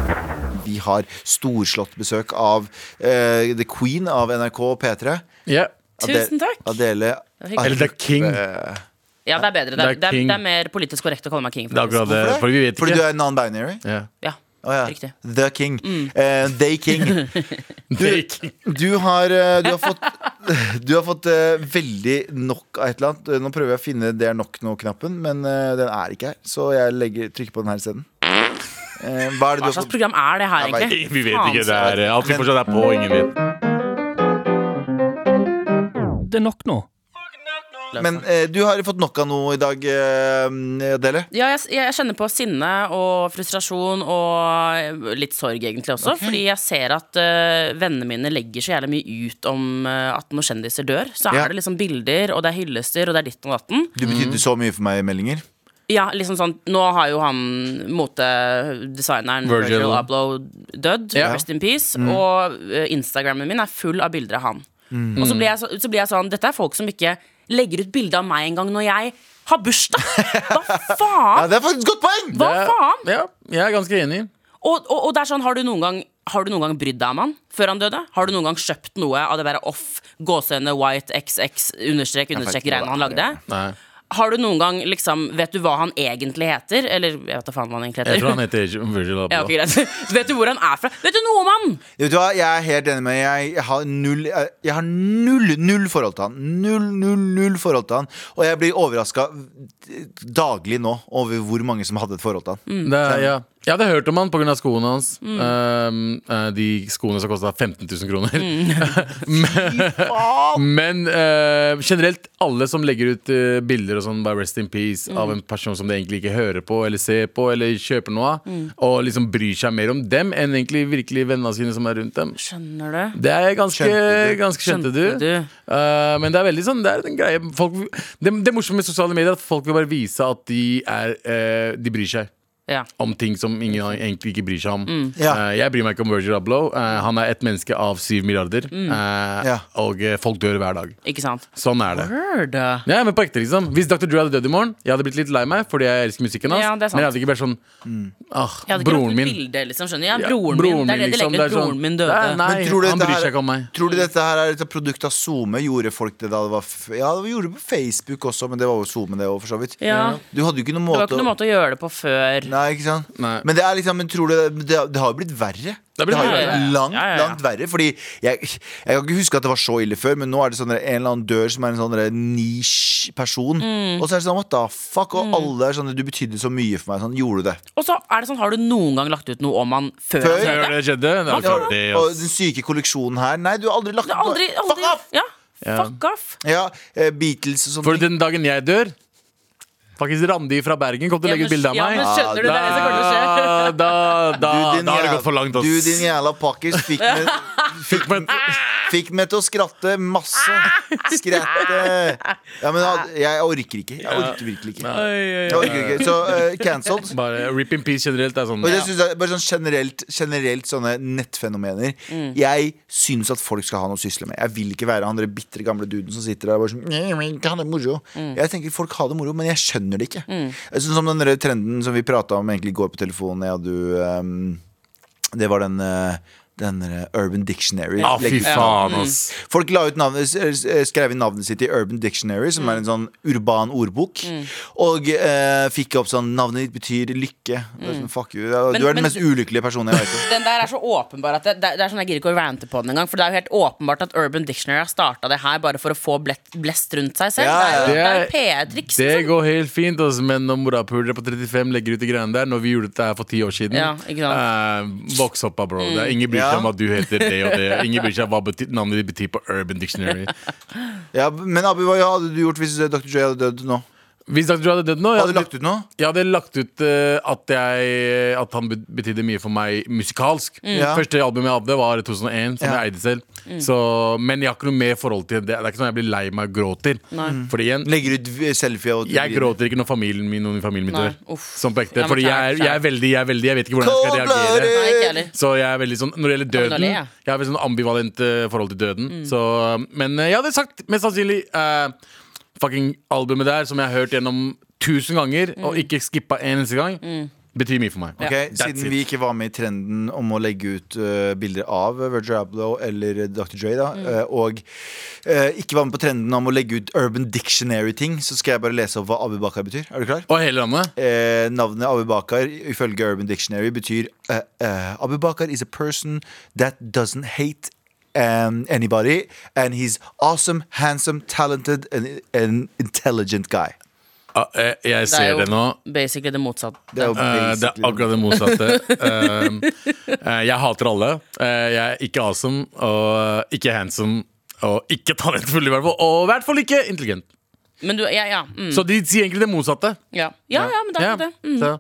S2: Vi har storslått besøk av eh, The Queen av NRK og P3.
S4: Ja.
S2: Ade-
S3: Tusen takk.
S2: Adele
S3: hyggelig.
S4: Eller det er King. Det
S3: Ja, det er bedre. Det er,
S4: Det er
S3: det, er,
S4: king.
S3: det er mer politisk korrekt å kalle meg king.
S4: er akkurat det.
S2: Hvorfor det?
S4: Fordi vi vet
S2: Fordi du
S4: ikke.
S2: er non-binary?
S4: Ja.
S3: Ja.
S2: Å ja.
S3: Riktig. Mm.
S2: The King. Eh, they King.
S4: They King.
S2: Du har, eh, du har fått, du har fått eh, veldig nok av et eller annet. Eh, Nå prøver jeg å finne 'det er nok nå'-knappen, men eh, den er ikke her. Så jeg legger, trykker på den her isteden. Eh, hva er det du har
S3: Hva slags
S2: fått?
S3: program er det her,
S2: Jeg vet
S3: egentlig?
S4: Vi vet
S3: Faen,
S4: ikke.
S3: så-
S4: Det er alt vi fortsatt er på. Ingen vet.
S6: Det er nok nå.
S2: Men eh, du har fått nok av noe i dag, eh, Adele.
S3: Ja, jeg, jeg kjenner på sinne og frustrasjon og eh, litt sorg egentlig også. Fordi jeg ser at eh, vennene mine legger så jævlig mye ut om eh, at når kjendiser dør, så
S2: Ja.
S3: er det liksom bilder, og det er hyllester, og det er ditt og datten.
S2: Du betydde
S3: Mm.
S2: så mye for meg i meldinger.
S3: Ja, liksom sånn Nå har jo han motedesigneren
S4: Virgil.
S3: Virgil, Abloh dødd.
S4: Ja.
S3: Rest in peace. Og eh, Instagrammen min er full av bilder av han. Og så blir, jeg så, så blir jeg sånn Dette er folk som ikke legger ut bilde av meg engang når jeg har bursdag! Hva
S2: Ja,
S3: faen?
S2: det er faktisk et godt poeng!
S3: Hva
S4: Det-
S3: faen?
S4: Ja, jeg er ganske enig.
S3: Og, og, og det er sånn, har du noen gang har du noen gang brydd deg om han før han døde? Har du noen gang kjøpt noe av det der off, gåsehøyne, white, xx, understrek, understrek,
S2: ikke hva
S3: greiene han
S2: det
S3: lagde?
S4: Nei.
S3: Har du noen gang liksom Vet du hva han egentlig heter? Eller jeg vet da faen hva han egentlig heter.
S4: Jeg tror han heter Virgil
S3: Ja,
S4: Abloh.
S3: ok, greit Vet du hvor han er fra? Vet du noe om han?
S2: Vet du hva, Jeg er helt enig med deg. Jeg har null, jeg jeg har null, null forhold til han. Null, null, null forhold til han. Og jeg blir overraska daglig nå over hvor mange som hadde et forhold til han.
S4: Det er, ja. Jeg hadde hørt om han pga. skoene hans.
S2: Mm.
S4: Eh, eh, de skoene som kosta 15 000 kroner.
S2: Mm.
S3: Mm.
S4: men men, eh, generelt, alle som legger ut eh, bilder og sånn, bare rest in peace
S3: Mm.
S4: av en person som de egentlig ikke hører på eller ser på eller kjøper noe av,
S3: Mm.
S4: og liksom bryr seg mer om dem enn egentlig virkelig vennene sine som er rundt dem.
S3: Skjønner du?
S4: Det er ganske
S2: Skjønte du.
S4: ganske skjønte du.
S3: Skjønte du.
S4: Eh, men det er veldig sånn Det er en greie folk, det, det morsomme med sosiale medier er at folk vil bare vise at de, er, eh, de bryr seg
S3: Ja.
S4: om ting som ingen egentlig ikke bryr seg om.
S3: Mm.
S2: Ja.
S4: Eh, jeg bryr meg ikke om Virgil Abloh. Eh, han er et menneske av syv milliarder.
S3: Mm.
S4: eh,
S2: Ja.
S4: Og eh, folk dør hver dag.
S3: Ikke sant?
S4: Sånn er det.
S3: Word.
S4: Ja, men på ekte liksom Hvis Dr. Drew hadde dødd i morgen, jeg hadde blitt litt lei meg fordi jeg elsker musikken hans.
S3: Ja, det er sant.
S4: men jeg hadde ikke vært sånn ah,
S3: Jeg hadde ikke
S4: Broren
S3: lagt ut
S4: min.
S3: bilde, liksom, skjønner du? Ja,
S4: Ja,
S3: broren, min. Det er det de legger
S4: liksom,
S3: ut.
S4: er sånn-
S3: Broren min døde.
S4: Nei,
S2: Men tror du
S4: nei han
S2: dette
S4: bryr
S2: her-
S4: seg ikke om meg.
S2: Tror du dette her er et produkt av SoMe? Gjorde folk det da det var f Ja, det gjorde det på Facebook også, men det var jo SoMe, det òg, for så vidt.
S3: Ja.
S2: Du hadde jo ikke noen
S3: Det
S2: måte,
S3: var ikke noen måte å gjøre det på før.
S2: Nei, ikke sant?
S4: Nei.
S2: Men det er liksom Men tror du det, det, det har jo blitt verre.
S4: Det har blitt
S2: har jo
S3: verre, ja, ja, ja.
S2: langt,
S3: Ja, ja, ja.
S2: langt verre. Fordi jeg, jeg kan ikke huske at det var så ille før, men nå er det sånn der en eller annen dør som er en sånn der niche-person.
S3: Mm.
S2: Og så er det sånn what the fuck, og alle er sånn Du betydde så mye for meg. Sånn, gjorde du det?
S3: Og så er det sånn, har du noen gang lagt ut noe om han før?
S2: Før?
S3: han døde?
S4: Før det skjedde? Det altså. er klart det,
S2: og
S4: ass.
S2: den syke kolleksjonen her Nei, du har aldri lagt
S3: Det er aldri, aldri
S2: Fuck off!
S3: Ja. Fuck off.
S2: Ja, eh, Beatles og
S4: For
S2: sånn.
S4: den dagen jeg dør Faktisk Randi fra Bergen kom til å
S3: Ja,
S4: legge ut
S3: men-
S4: bilde av
S3: ja,
S4: meg.
S3: men skjønner du det? Det er det som kommer til å skje.
S4: Da, da, da, Ah, da har det gått for langt, ass.
S2: Du, din jævla pakkis, fikk meg
S4: Fikk meg-
S2: Fikk meg til å skratte masse. Skratte Ja, men jeg- jeg orker ikke. Jeg orker virkelig ikke. Jeg orker ikke. Så eh, cancelled.
S4: Bare rip in peace generelt. Det er sånn
S2: Og det synes jeg, bare sånn generelt, generelt sånne nettfenomener. Jeg syns at folk skal ha noe å sysle med. Jeg vil ikke være han der bitre gamle duden som sitter der og bare sånn «Nei, men ikke ha det moro. Jeg tenker folk har det moro, men jeg skjønner det ikke.
S4: Mm.
S2: Jeg synes som den der trenden som vi prata om egentlig i går på telefonen, jeg og du ehm, Det var den eh, den der Urban Dictionary.
S4: Ja, fy
S2: Legg-
S4: faen, ass.
S3: Mm.
S2: Folk la ut navnet, s- eh, skrev inn navnet sitt i Urban Dictionary, som
S3: Mm.
S2: er en sånn urban ordbok. Og eh, fikk opp sånn Navnet ditt betyr lykke. Det er Sånn, fuck you. Ja,
S3: Mm. Men-
S2: du er den
S3: men-
S2: mest ulykkelige personen jeg vet om.
S3: Den der er så åpenbar at det, det, det er sånn Jeg gidder ikke å rante på den engang. For det er jo helt åpenbart at Urban Dictionary har starta det her bare for å få blett, blest rundt seg selv.
S2: Ja, ja.
S3: Det er jo
S4: Det
S3: det er jo PR-triks.
S4: Det
S3: liksom.
S4: går helt fint, ass, men når morapulere på 35 legger ut de greiene der Når vi gjorde dette her for ti år siden
S3: Ja, ikke Mm.
S4: eh, Voks opp, da, bro. Det er ingen bryr seg
S2: Ja.
S4: om at du heter det og det. Ingen bryr seg om hva bety navnet ditt betyr på Urban Dictionary.
S2: Ja, men Abu, hva hadde du gjort hvis eh, Dr. Joy hadde dødd nå?
S4: Hvis Dr. Drew hadde dødd nå jeg
S2: Hadde du
S4: hadde
S2: lagt ut noe?
S4: Jeg hadde lagt ut eh, at, jeg, at han bet- betydde mye for meg musikalsk.
S3: Mm.
S2: Ja.
S4: Første albumet jeg hadde, var 2001, som
S2: Ja.
S4: jeg eide selv. Så, men jeg har ikke noe mer forhold til det. Det er ikke sånn jeg blir lei meg og gråter. Fordi igjen,
S2: Legger ut v- selfie og
S4: jeg gråter ikke når familien min, noen i familien min
S3: Nei,
S4: dør.
S3: uff.
S4: Som på ekte.
S3: Ja, men
S4: Fordi jeg
S3: klart,
S4: er, jeg er veldig, jeg er veldig Jeg vet ikke hvordan jeg skal
S2: Cold-blooded!
S4: reagere.
S3: Nei, ikke heller.
S4: Så jeg er veldig sånn Når det
S3: Ja,
S4: gjelder
S3: men da
S4: døden
S3: ler jeg. Mm.
S4: Jeg har veldig sånn ambivalent eh, forhold til døden så, Men eh, jeg hadde sagt mest sannsynlig eh,
S3: Mm.
S4: Fucking albumet der Som jeg har hørt gjennom tusen ganger Og ikke skippa en eneste gang Betyr mye for meg.
S2: Ok,
S3: Ja,
S4: that's
S2: Siden
S4: it.
S2: vi ikke var med i trenden om å legge ut eh, bilder av Virgil Abloh eller Dr. Dre, da,
S3: Mm.
S2: eh, og eh, ikke var med på trenden om å legge ut Urban Dictionary-ting, så skal jeg bare lese opp hva Abubakar betyr. Er du klar?
S4: Og hele landet?
S2: Eh, navnet Abubakar ifølge Urban Dictionary betyr uh, Abubakar is a person that doesn't hate um, anybody, and he's awesome, handsome, talented and, and intelligent guy.
S4: Ah, eh,
S3: Det
S4: jeg
S3: er
S4: ser
S3: jo
S4: det nå.
S3: basically det motsatte.
S2: Det er, jo
S4: Eh, det er
S2: basically-
S4: akkurat det motsatte. Eh, eh, jeg hater alle. Eh, jeg er ikke awesome, og ikke handsome, og ikke talentfull, i hvert fall. Og i hvert fall ikke intelligent.
S3: Men du, ja, ja. Mm,
S4: Så de sier egentlig det motsatte.
S3: ja. ja, ja, men det er jo det. Mm.
S4: Så,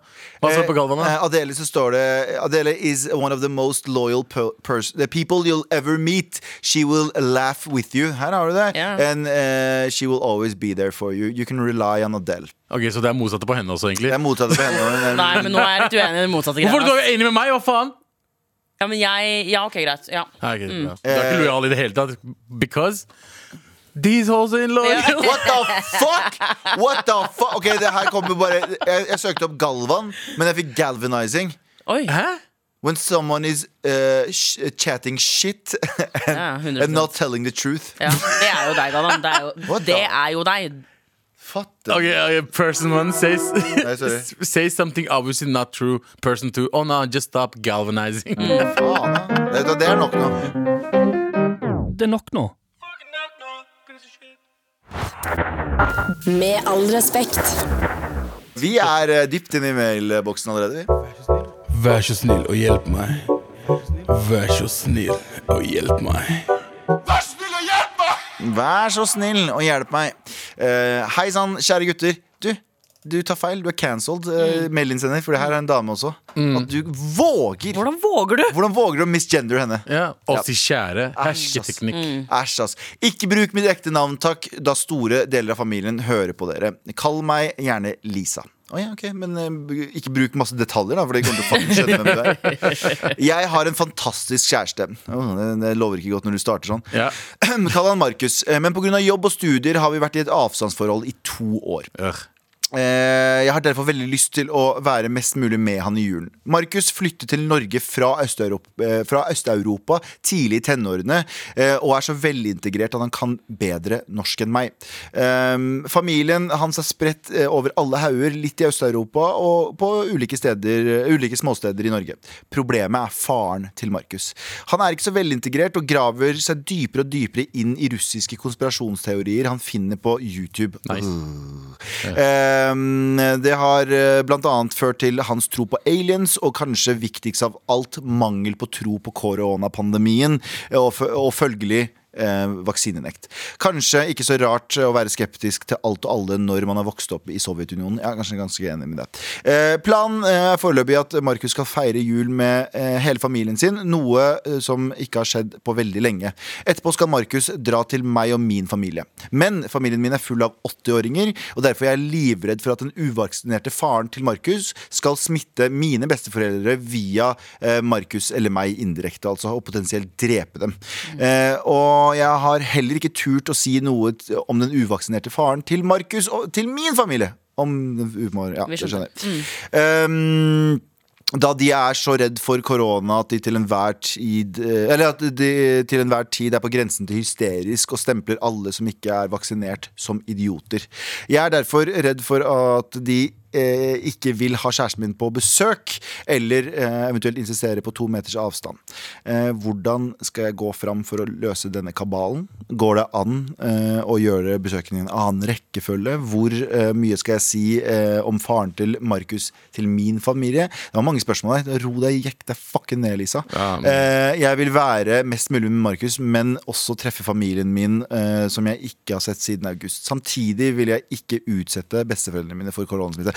S4: hva står på Galvan, da?
S2: Eh, Adele så står det Adele is one of the most loyal po- pers the people you'll ever meet. She will laugh with you. Her har du det.
S3: Ja.
S2: And eh, she will always be there for you. You can rely on Adele.
S4: Ok, Så det er motsatte på henne også, egentlig.
S2: Det er motsatt på henne. men-
S3: Nei, men nå er jeg litt uenig i den motsatte
S4: Hvorfor er
S3: greia.
S4: du enig med meg? Hva faen?
S3: Ja, men jeg Ja, OK, greit. Ja.
S4: Ah, ok,
S3: Mm.
S4: bra. Du er ikke
S2: Eh.
S4: lojal i det hele tatt. Because these hoes are in love.
S3: Ja.
S2: What the fuck?! What the fuck Ok, det her kommer bare jeg, jeg søkte opp Galvan, men jeg fikk galvanizing.
S3: Oi.
S4: Hæ?
S2: When someone is eh, sh chatting shit and,
S3: Ja, 100%.
S2: and not telling the truth.
S3: Ja, det er jo deg, Galvan. Det er jo,
S2: What the-
S3: det er jo deg.
S2: Fatter.
S4: Ok, ok, person one says,
S2: Nei, sorry.
S4: says something obviously not true. Person two, oh no, just stop galvanizing.
S3: Mm.
S2: Faen, da. Det, det er nok nå.
S6: Det er nok nå.
S5: Med all respekt.
S2: Vi er eh, dypt inne i mailboksen allerede. vi.
S7: Vær så snill og hjelp meg. Vær så snill og hjelp meg.
S2: Vær så snill og hjelp meg. Uh, Hei sann, kjære gutter. Du, du tar feil. Du er cancelled, uh,
S7: Mm.
S2: mailinnsender, for det her er en dame også. At du våger!
S1: Hvordan våger du?
S2: Hvordan våger du å misgender henne?
S4: Ja, oss i kjære hersketeknikk.
S2: Æsj, ass. Ikke bruk mitt ekte navn, takk, da store deler av familien hører på dere. Kall meg gjerne Lisa. Å ja, ok, Men eh, ikke bruk masse detaljer, da, for de kommer til å fucking skjønne hvem du er. Jeg har en fantastisk kjæreste. Å, det, det lover ikke godt når du starter sånn.
S4: Ja.
S2: Kall han Markus. Eh, Men pga. jobb og studier har vi vært i et avstandsforhold i to år.
S4: Øh.
S2: Eh, Jeg har derfor veldig lyst til å være mest mulig med han i julen. Markus flyttet til Norge fra Øst-Europ- eh, fra Øst-Europa tidlig i tenårene eh, og er så velintegrert at han kan bedre norsk enn meg. Eh, Familien hans er spredt eh, over alle hauger, litt i Øst-Europa og på ulike, steder, eh, ulike småsteder i Norge. Problemet er faren til Markus. Han er ikke så velintegrert og graver seg dypere og dypere inn i russiske konspirasjonsteorier han finner på YouTube. Ehm, Det har eh, blant annet ført til hans tro på aliens, og kanskje viktigst av alt mangel på tro på koronapandemien, og, f- og følgelig eh, vaksinenekt. Kanskje ikke så rart å være skeptisk til alt og alle når man har vokst opp i Sovjetunionen. Jeg er kanskje ganske enig med deg. Eh, Planen eh, er foreløpig at Markus skal feire jul med eh, hele familien sin, noe eh, som ikke har skjedd på veldig lenge. Etterpå skal Markus dra til meg og min familie. Men familien min er full av 80-åringer, og derfor er jeg livredd for at den uvaksinerte faren til Markus skal smitte mine besteforeldre via eh, Markus eller meg indirekte, altså, og potensielt drepe dem. Eh, og jeg har heller ikke turt å si noe t- om den uvaksinerte faren til Markus og til min familie. Om den u- Ja,
S3: Vi
S2: det
S3: skjønner.
S2: skjønner jeg. Um, da de er så redd for korona at de til enhver tid eh, Eller at de til enhver tid er på grensen til hysterisk og stempler alle som ikke er vaksinert, som idioter. Jeg er derfor redd for at de eh, ikke vil ha kjæresten min på besøk, eller eh, eventuelt insistere på to meters avstand. Eh, hvordan skal jeg gå fram for å løse denne kabalen? Går det an eh, å gjøre besøkene i en annen rekkefølge? Hvor eh, mye skal jeg si eh, om faren til Markus til min familie? Det var mange spørsmål her. Ro deg, jekk deg fucking ned, Lisa. eh, jeg vil være mest mulig med Markus, men også treffe familien min, eh, som jeg ikke har sett siden august. Samtidig vil jeg ikke utsette besteforeldrene mine for koronasmitte.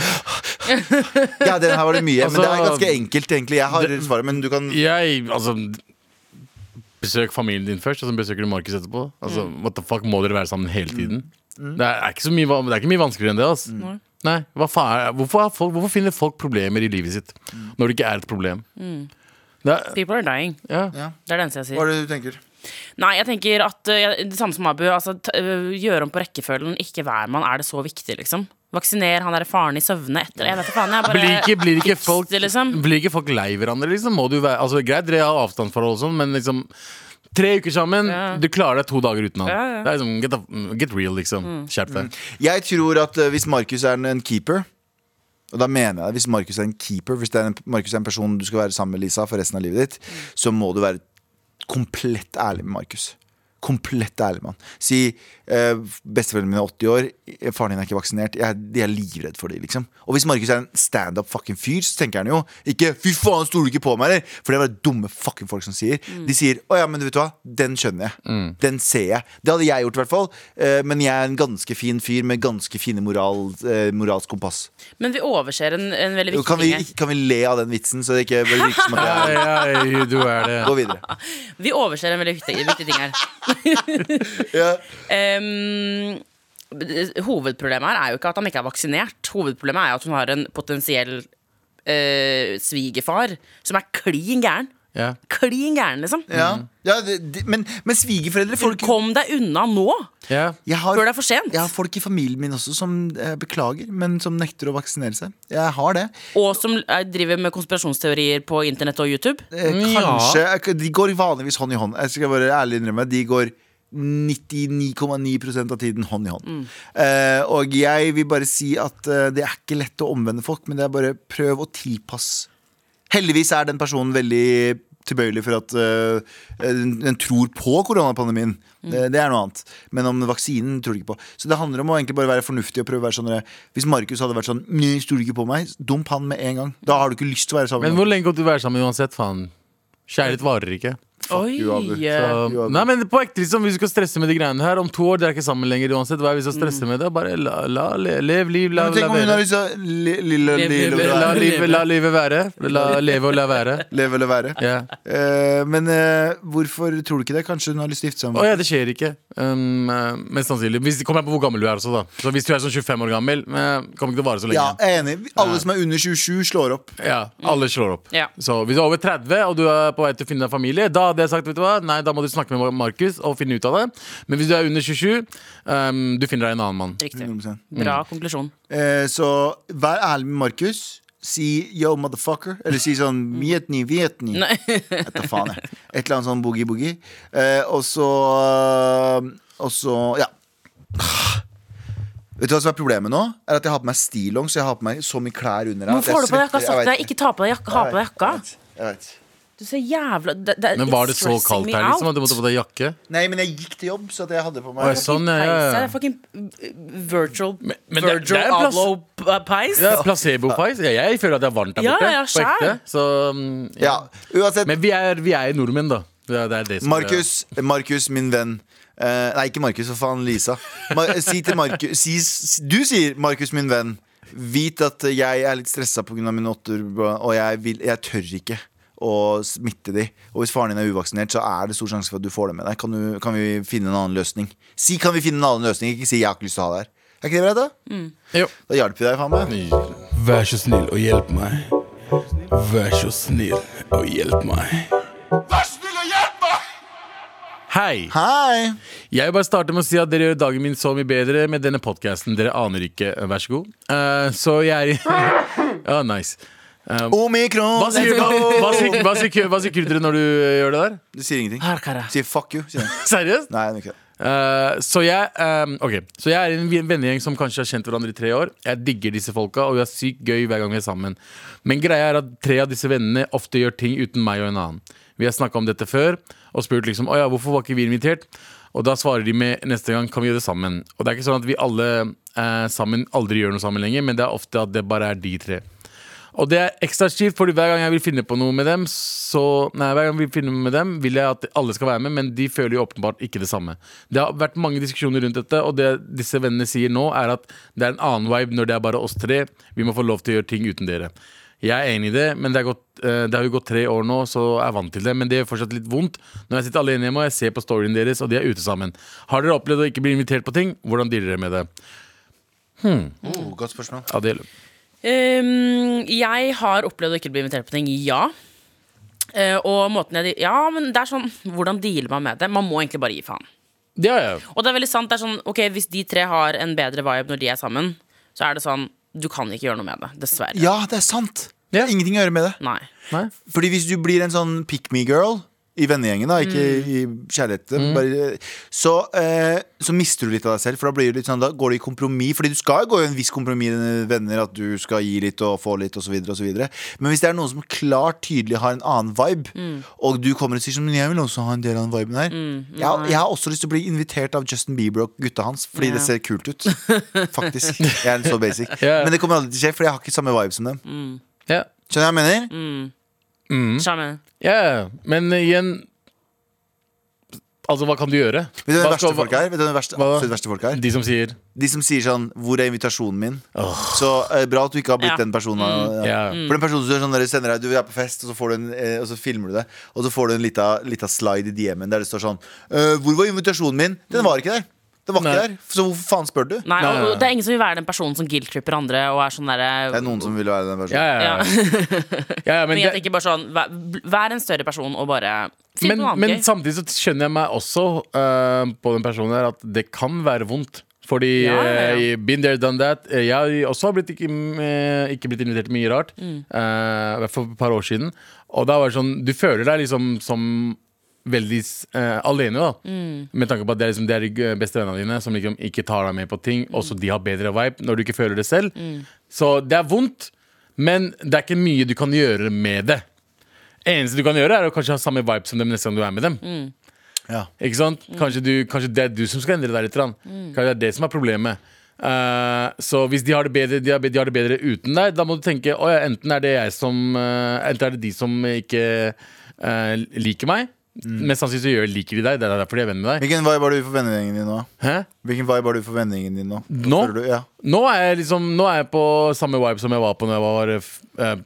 S2: ja, den her var det mye. men det er
S4: Altså,
S2: ganske enkelt, egentlig. Jeg har svaret, men du kan
S4: Jeg, altså Besøk familien din først, og så besøker du Markus etterpå. Altså, what the fuck, Må dere være sammen hele tiden? Det, er ikke så mye, va- det er ikke mye vanskeligere enn det. ass. Nei, hva faen, er- hvorfor, har folk, hvorfor finner folk problemer i livet sitt når det ikke er et problem? Det er,
S3: People are dying.
S4: ja.
S2: ja.
S3: Det er det eneste jeg sier.
S2: Hva er det du tenker?
S3: Nei, jeg tenker at eh, jeg- det samme som Abu. Altså, t eh, gjøre om på rekkefølgen. Ikke hver mann. Er det så viktig, liksom? Vaksiner han derre faren i søvne etter Jeg vet ikke faen. Jeg bare
S4: Blir ikke, blir, ikke
S3: tips
S4: folk,
S3: til, liksom.
S4: blir ikke folk lei hverandre, liksom? Må du være, altså, greit, dere har avstandsforhold og sånn, men liksom Tre uker sammen, du klarer deg to dager uten han. Det er liksom, get, the- get real, liksom. Skjerp deg.
S2: Jeg tror at eh, hvis Markus er en, en keeper og da mener jeg det, Hvis Markus er en keeper Hvis det er en, Markus er en person du skal være sammen med Lisa for resten av livet ditt, så må du være komplett ærlig med Markus. Komplett ærlig med han. Si eh, besteforeldrene mine er 80 år, eh, faren din er ikke vaksinert. Jeg, jeg er livredd for dem. Liksom. Og hvis Markus er en standup fucking fyr, så tenker han jo ikke 'fy faen, stoler du ikke på meg', eller? For det er bare dumme fucking folk som sier. De sier 'å ja, men du vet hva, den skjønner jeg'. Den ser jeg. Det hadde jeg gjort i hvert fall. Eh, men jeg er en ganske fin fyr med ganske fine moral, eh, moralsk kompass.
S3: Men vi overser en, en veldig
S2: Jo,
S3: viktig
S2: Kan vi,
S3: ting. her.
S2: kan vi le av den vitsen, så det ikke bare virker som at jeg er
S4: Hei, du er det.
S2: Gå videre.
S3: Vi overser en veldig viktig, viktig ting her.
S2: Ja.
S3: Ehm, hovedproblemet her er jo ikke at han ikke er vaksinert. Hovedproblemet er jo at hun har en potensiell eh, svigerfar som er klin gæren.
S4: Ja.
S3: Klin gæren, liksom.
S2: Ja. Ja, det, det, men, men svigerforeldre folk,
S3: Kom deg unna nå,
S4: Ja.
S2: jeg har,
S3: før det er for sent.
S2: jeg har folk i familien min også som eh, beklager, men som nekter å vaksinere seg. Jeg har det.
S3: Og som eh, driver med konspirasjonsteorier på internett og YouTube.
S2: Eh,
S4: Mm,
S2: Kanskje eh, De går vanligvis hånd i hånd. Jeg skal bare ærlig innrømme De går 99,9 av tiden hånd i hånd.
S4: Mm.
S2: Eh, og jeg vil bare si at eh, det er ikke lett å omvende folk, men det er bare prøv å tilpasse. Heldigvis er den personen veldig tilbøyelig for at eh, den den tror på koronapandemien.
S4: Mm.
S2: Eh, Det, det er noe annet. Men om vaksinen tror de ikke på. Så det handler om å egentlig bare være fornuftig og prøve å være sånn eh, Hvis Markus hadde vært sånn «Nei, Stoler ikke på meg, dump han med en gang. Da har du ikke lyst til å være sammen
S4: Men
S2: med
S4: hvor lenge kan du være sammen uansett, faen? Kjærlighet varer ikke.
S3: Oi!
S2: you, Abu.
S3: eh,
S4: Så,
S2: jo, det-
S4: nei, men på ekte, liksom, hvis du skal stresse med de greiene her Om to år dere er ikke sammen lenger uansett. Hva er vi skal stresse med det? Bare la, la le, lev liv, la,
S2: Mm. Men Tenk
S4: la,
S2: om hun har
S4: være.
S2: lyst til å li- lille-
S3: Leve-
S2: lille-
S4: La,
S2: være.
S4: livet- la livet være. La leve og la være.
S2: Leve eller være.
S4: Ja.
S2: Eh, men eh, hvorfor tror du ikke det? Kanskje hun har lyst til å gifte seg?
S4: Å
S2: med-
S4: ja, det skjer ikke. Um, eh, mest sannsynlig. Hvis, kommer an på hvor gammel du er også, da. Så hvis du er sånn 25 år gammel, eh, kommer ikke til å vare så lenge.
S2: Ja, jeg er enig. Alle som er under 27, slår opp.
S4: Ja, alle slår opp.
S3: Ja.
S4: Så hvis du er over 30 og du er på vei til å finne deg familie, da hadde jeg sagt vet du hva, nei, da må du snakke med Markus og finne ut av det. Men hvis du er under 27, ehm, du finner deg en annen mann.
S3: Riktig.
S2: 100%.
S4: Mm.
S3: Bra konklusjon.
S2: Eh, så vær ærlig med Markus. Si 'yo, motherfucker'. Eller si
S3: Mm.
S2: sånn 'vietni, vietni'. Etter faen, jeg. Et eller annet sånn boogie-boogie. Eh, og så Og så Ja. Vet du hva som er problemet nå? Er At Jeg har på meg stillongs så jeg har på meg så mye klær under. her at
S3: Hvorfor
S2: jeg
S3: har du på deg jakka?
S2: svetter. Jeg
S3: Sagt
S2: vet
S3: deg, ikke ta på deg jakka. Ha på deg jakka.
S2: Jeg vet, jeg vet.
S3: Du ser jævla det, det,
S4: Men var det
S3: it's
S4: så
S3: stressing
S4: kaldt
S3: me
S4: her liksom,
S3: out.
S4: at du måtte på deg jakke?
S2: Nei, men jeg gikk til jobb, så at jeg hadde på
S4: Å,
S2: meg
S4: jeg sånn, ja, ja,
S3: Peis her
S4: ja.
S3: er fucking uh, virtual
S4: men det-
S3: Virgil
S4: det er en plass-
S3: Abloh p- uh, peis.
S4: Ja, placebo-feis. Ja, jeg føler at det er varmt der
S3: Ja,
S4: borte.
S3: ja,
S4: på ekte.
S3: skjær.
S4: Så, mm, ja.
S2: Ja, uansett
S4: Men vi er, vi er nordmenn, da. Det er, det er det som er-
S2: Markus, Markus, min venn Eh, Nei, ikke Markus, for faen, Lisa Mar Si til Markus si, si- Du sier, Markus, min venn Vit at jeg er litt stresset på grunn av min åtter Og jeg, vil, jeg tør ikke å smitte de Og hvis faren din er uvaksinert, så er det stor sjanse for at du får det med deg Kan, du, kan vi finne en annen løsning? Si, kan vi finne en annen løsning? Ikke si, jeg har ikke lyst til å ha det her Er ikke det bra da?
S4: Jo.
S2: Da hjelper vi deg, faen meg
S7: Vær så snill og hjelp meg. Vær så snill og hjelp meg.
S4: Hei!
S2: Hei!
S4: Jeg vil bare starte med å si at dere gjør dagen min så mye bedre med denne podkasten. Dere aner ikke. Vær så god. Eh, så jeg er Ja, nice.
S2: Omikron!
S4: Hva sier, hva, hva, sier, hva, sier, hva sier kurdere når du eh, gjør det der?
S2: Du sier ingenting. Sier fuck you. Sier han.
S4: Seriøst?
S2: Nei, det er ikke det.
S4: Eh, så, jeg, eh, ok. så jeg er en vi- vennegjeng som kanskje har kjent hverandre i tre år. Jeg digger disse folka, og vi har sykt gøy hver gang vi er sammen. Men greia er at tre av disse vennene ofte gjør ting uten meg og en annen. Vi har snakka om dette før og spurt liksom, «Å ja, hvorfor var ikke vi invitert. Og da svarer de med neste gang kan vi gjøre det sammen. Og det er ikke sånn at vi alle eh, sammen aldri gjør noe sammen lenger, men det er ofte at det bare er de tre. Og det er ekstra kjipt, fordi hver gang jeg vil finne på noe med dem, så Nei, hver gang jeg vil finne med dem, vil jeg at alle skal være med, men de føler jo åpenbart ikke det samme. Det har vært mange diskusjoner rundt dette, og det disse vennene sier nå, er at det er en annen vibe når det er bare oss tre. Vi må få lov til å gjøre ting uten dere. Jeg er enig i det, men det, er gått, eh, det har jo gått tre år nå, så jeg er vant til det. Men det gjør fortsatt litt vondt når jeg sitter alene hjemme og jeg ser på storyen deres, og de er ute sammen. Har dere opplevd å ikke bli invitert på ting? Hvordan dealer dere med det?
S2: Oh, godt spørsmål.
S4: Ja, det gjelder.
S3: Ehm, jeg har opplevd å ikke bli invitert på ting, ja. Eh, og måten jeg Ja, men det er sånn Hvordan dealer man med det? Man må egentlig bare gi faen.
S4: Det har jeg.
S3: Og det er veldig sant. Det er sånn, ok, Hvis de tre har en bedre vibe når de er sammen, så er det sånn Du kan ikke gjøre noe med det, dessverre.
S2: Ja, det er sant. Det har ingenting å gjøre med det.
S3: Nei.
S4: Nei?
S2: Fordi hvis du blir en sånn pick me girl i vennegjengen, da, ikke i kjærligheten, bare, så, eh, så mister du litt av deg selv. For da, blir det litt sånn, da går du i kompromiss. Fordi du skal gå i en viss kompromiss med dine venner, at du skal gi litt og få litt osv. Men hvis det er noen som klart tydelig har en annen vibe, og du kommer og sier sånn, «Men jeg vil også ha en del av den viben her jeg, har- jeg har også lyst til å bli invitert av Justin Bieber og gutta hans, fordi det ser kult ut. Faktisk. Jeg er så basic.
S4: Ja.
S2: Men det kommer aldri til å skje, for jeg har ikke samme vibe som dem.
S4: Ja.
S2: Skjønner du hva jeg mener? Mm.
S3: Skjønner.
S4: ja, ja. men eh, igjen Altså, hva kan du gjøre?
S2: Vet du hvem
S4: Hva
S2: de verste
S4: skal-
S2: folk er? Vet du hvem de verste,
S4: Hva da?
S2: absolutt verste folk er?
S4: De som sier
S2: De som sier sånn 'Hvor er invitasjonen min?' Så eh, bra at du ikke har blitt
S3: Ja.
S2: den personen.
S4: Mm. Ja.
S2: For den personen som er sånn der, sender deg Du er på fest, og så, får du en, eh, og så filmer du det. Og så får du en lita, lita slide i DM-en der det står sånn «Eh, 'Hvor var invitasjonen min?' Den var ikke der. Den var
S4: Nei.
S2: ikke der Så hvorfor faen spør du?
S3: Nei,
S4: Nei, nei, nei.
S3: og det er ingen som vil være den personen som guilt-tripper andre og er sånn
S2: Det
S3: derre
S2: er noen som vil være den
S4: Ja,
S2: personen.
S4: ja, ja. ja, ja men,
S3: Men jeg
S4: det-
S3: tenker bare sånn, vær, vær en større person og bare Finn
S4: men,
S3: noe annet
S4: men
S3: gøy.
S4: samtidig så skjønner jeg meg også eh, på den personen her at det kan være vondt. Fordi
S3: Ja, ja, ja.
S4: eh, been there, done that. Eh, Jeg har også blitt ikke, eh, ikke blitt invitert til mye rart.
S3: Mm.
S4: eh, for et par år siden. Og da var det sånn Du føler deg liksom som veldig eh, alene, da.
S3: Mm.
S4: Med tanke på at det er, liksom, det er de beste vennene dine som liksom ikke tar deg med på ting.
S3: Mm.
S4: Også de har bedre vibe når du ikke føler det selv. Så det er vondt, men det er ikke mye du kan gjøre med det. Eneste du kan gjøre, er å kanskje ha samme vibe som dem neste gang du er med dem.
S2: Ja.
S4: Ikke sant? Kanskje, du, kanskje det er du som skal endre deg litt. grann. Kanskje det er det som er problemet. Eh, så hvis de har, det bedre, de, har, de har det bedre uten deg, da må du tenke oh ja, enten er det jeg som eh, Enten er det de som ikke eh, liker meg. Mest sannsynlig så gjør, liker de deg. Det er derfor de er venn med deg.
S2: Hvilken vibe har du for vennegjengen din nå?
S4: Hæ?
S2: Hvilken vibe har du for vennegjengen din nå?
S4: Nå?
S2: Føler Du, ja.
S4: Nå er jeg liksom Nå er jeg på samme vibe som jeg var på Når jeg var eh, eh,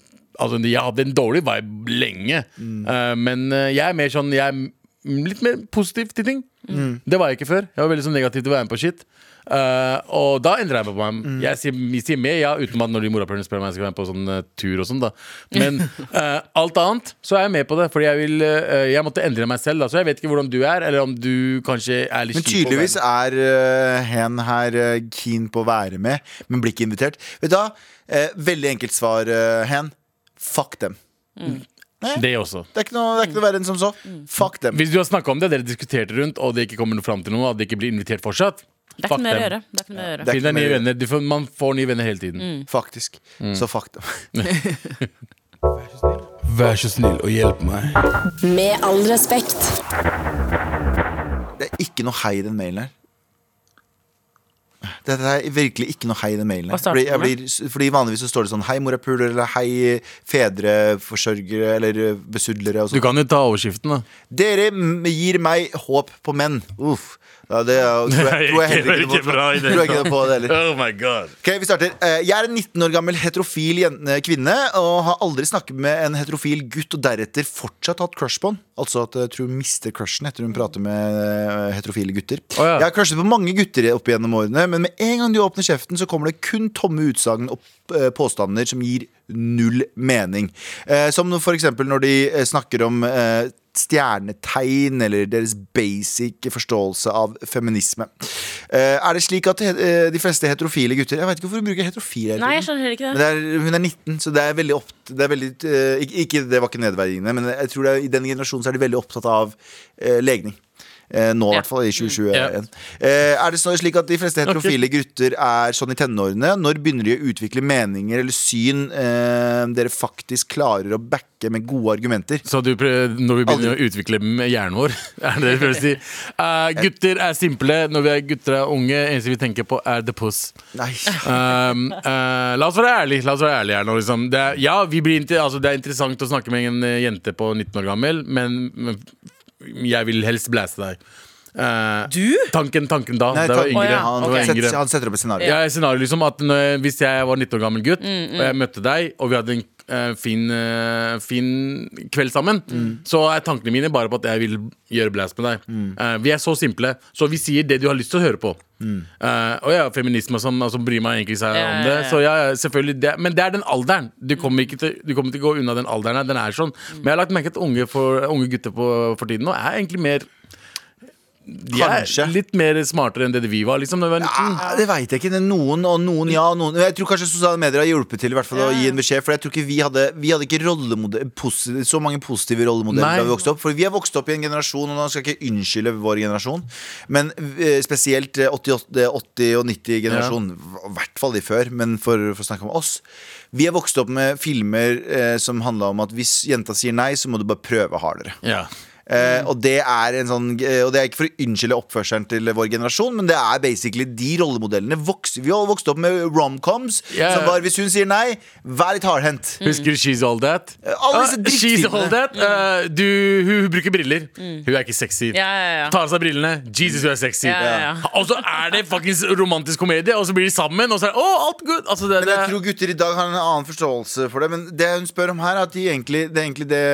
S4: Altså jeg hadde en dårlig vibe lenge Eh, Men eh, jeg er mer sånn Jeg er m- litt mer positiv til ting Det var jeg ikke før Jeg var veldig sånn negativ til å være med på shit Eh, og da endrer jeg meg på meg Jeg sier, jeg sier med, ja, uten at når de morapulerne spør om jeg skal være med på sånn eh, tur og sånn da Men eh, alt annet, så er jeg med på det Fordi jeg vil, eh, jeg måtte endre meg selv da Så jeg vet ikke hvordan du er, eller om du kanskje er litt
S2: Men
S4: kjip og
S2: tydeligvis
S4: vær-
S2: er eh, hen her eh, keen på å være med, men blir ikke invitert. Vet du hva? Eh, veldig enkelt svar, eh, hen. Fuck dem. Nei, det,
S4: Det også
S2: er ikke noe, det er ikke noe verre enn som så.
S3: Mm.
S2: Fuck dem.
S4: Hvis du har snakka om det, dere diskuterte rundt, og det ikke kommer noe fram til noe, at det ikke blir invitert fortsatt
S3: Det er
S4: fuck
S3: ikke mer å
S4: dem.
S3: gjøre. Det er ikke mer å gjøre.
S2: Det er
S4: Finn deg
S2: ikke
S4: nye
S2: mer-
S4: venner. Du får, man får nye venner hele tiden.
S3: Mm.
S2: Faktisk. Så fuck dem.
S7: Vær så snill og hjelp meg.
S5: Med all respekt.
S2: Det er ikke noe hei i den mailen her. Det er virkelig ikke noe hei i den mailen. her.
S3: Hva starter
S2: Fordi, jeg
S3: den med?
S2: blir, fordi Vanligvis så står det sånn hei, morapuler, eller hei, fedreforsørgere eller eh, besudlere. Og sånt.
S4: Du kan jo ta overskriften, da.
S2: Dere m- gir meg håp på menn. Uff. Ja, det er- tror jeg, tror jeg heller ikke noe på. Tror jeg ikke noe på det heller.
S4: Oh my god.
S2: Ok, vi starter. Eh, Jeg er en 19 år gammel heterofil jen- kvinne og har aldri snakket med en heterofil gutt og deretter fortsatt hatt crush på han. Altså at jeg tror hun mister crushen etter hun prater med eh, heterofile gutter.
S4: Å, ja.
S2: Jeg har crushet på mange gutter opp igjennom årene, men med en gang de åpner kjeften, så kommer det kun tomme utsagn og eh, påstander som gir null mening. Eh, Som for eksempel når de eh, snakker om eh, stjernetegn eller deres basic forståelse av feminisme. Eh, er det slik at eh, de fleste heterofile gutter Jeg vet ikke hvorfor hun bruker heterofil. hele
S3: Nei, jeg
S2: tiden.
S3: skjønner heller ikke
S2: Men
S3: det.
S2: det er, hun er 19, så det er veldig opp, det, er veldig, eh, ikke, ikke, det var ikke nedverdigende, men jeg tror det er, i den generasjonen så er de veldig opptatt av eh, legning. Eh, nå, i
S3: Ja.
S2: hvert fall, i 2021.
S4: Mm. Ja.
S2: Eh, er det sånn- slik at de fleste heterofile gutter er sånn i tenårene? Når begynner de å utvikle meninger eller syn eh, dere faktisk klarer å backe med gode argumenter?
S4: Så du prøver, når vi begynner å utvikle med hjernen vår, er det det du prøver å si? Eh, gutter er simple når vi er gutter er unge. Eneste vi tenker på, er the puss.
S2: Nei.
S4: Um, eh, la oss være ærlige la oss være ærlig her nå. Liksom. Det, er, ja, vi blir inter altså, det er interessant å snakke med en eh, jente på 19 år gammel, men, men jeg vil helst blæse deg. Eh, Tanken, tanken da.
S2: Nei,
S4: det var
S2: ta-
S4: yngre.
S3: Å, ja.
S2: han,
S4: Det var
S2: setter,
S4: yngre.
S2: han setter opp et scenario.
S4: Ja, et scenario liksom at når jeg, Hvis jeg var 19 år gammel gutt og jeg møtte deg, og vi hadde en eh, fin, eh, fin kveld sammen, så er tankene mine bare på at jeg vil gjøre blast med deg. Eh, vi er så simple, så vi sier det du har lyst til å høre på. Eh, og ja, feminisme og sånn, altså bryr meg egentlig seg
S3: Ja,
S4: om
S3: ja,
S4: det.
S3: ja.
S4: Så ja, ja, selvfølgelig det, Men det er den alderen. Du kommer ikke til, du kommer til å gå unna den alderen. her, Den er sånn. Men jeg har lagt merke til at unge, for, unge gutter på, for tiden nå er egentlig mer de er
S2: Kanskje.
S4: litt mer smartere enn det vi var, liksom. Da vi var 19.
S2: Ja, det veit jeg ikke. Det er Noen og noen ja. og Noen. Jeg tror kanskje sosiale medier har hjulpet til i hvert fall, å gi en beskjed. For jeg tror ikke vi hadde, vi hadde ikke rollemodell- posi- så mange positive rollemodeller
S4: Nei.
S2: da vi vokste opp. For vi har vokst opp i en generasjon, og nå skal jeg ikke unnskylde vår generasjon, men eh, spesielt eh, 88, 80- og 90-generasjonen, i hvert fall de før, men for, for å snakke om oss. Vi har vokst opp med filmer eh, som handla om at hvis jenta sier nei, så må du bare prøve hardere.
S4: Ja.
S2: Eh, og, det er en sånn, eh, og det er ikke for å unnskylde oppførselen til vår generasjon, men det er basically de rollemodellene. Vokser, vi har vokst opp med romcoms
S4: Ja, Mm. ja.
S2: som var hvis hun sier nei, vær litt hardhendt.
S4: Husker du She's All That?
S2: Alle disse
S4: Ah, she's
S2: drittfilmene.
S4: all
S3: Mm.
S4: that Eh, du, hun, hun bruker briller. Hun er ikke sexy.
S3: Ja, ja, ja.
S4: Tar av seg brillene. Jesus, hun er sexy.
S3: Ja, ja, ja.
S4: Og så er det fuckings romantisk komedie, og så blir de sammen, og så er det oh, alt good. Altså, det,
S2: Men jeg
S4: det-
S2: tror gutter i dag har en annen forståelse for det. Men det hun spør om her, er at de egentlig, det er egentlig det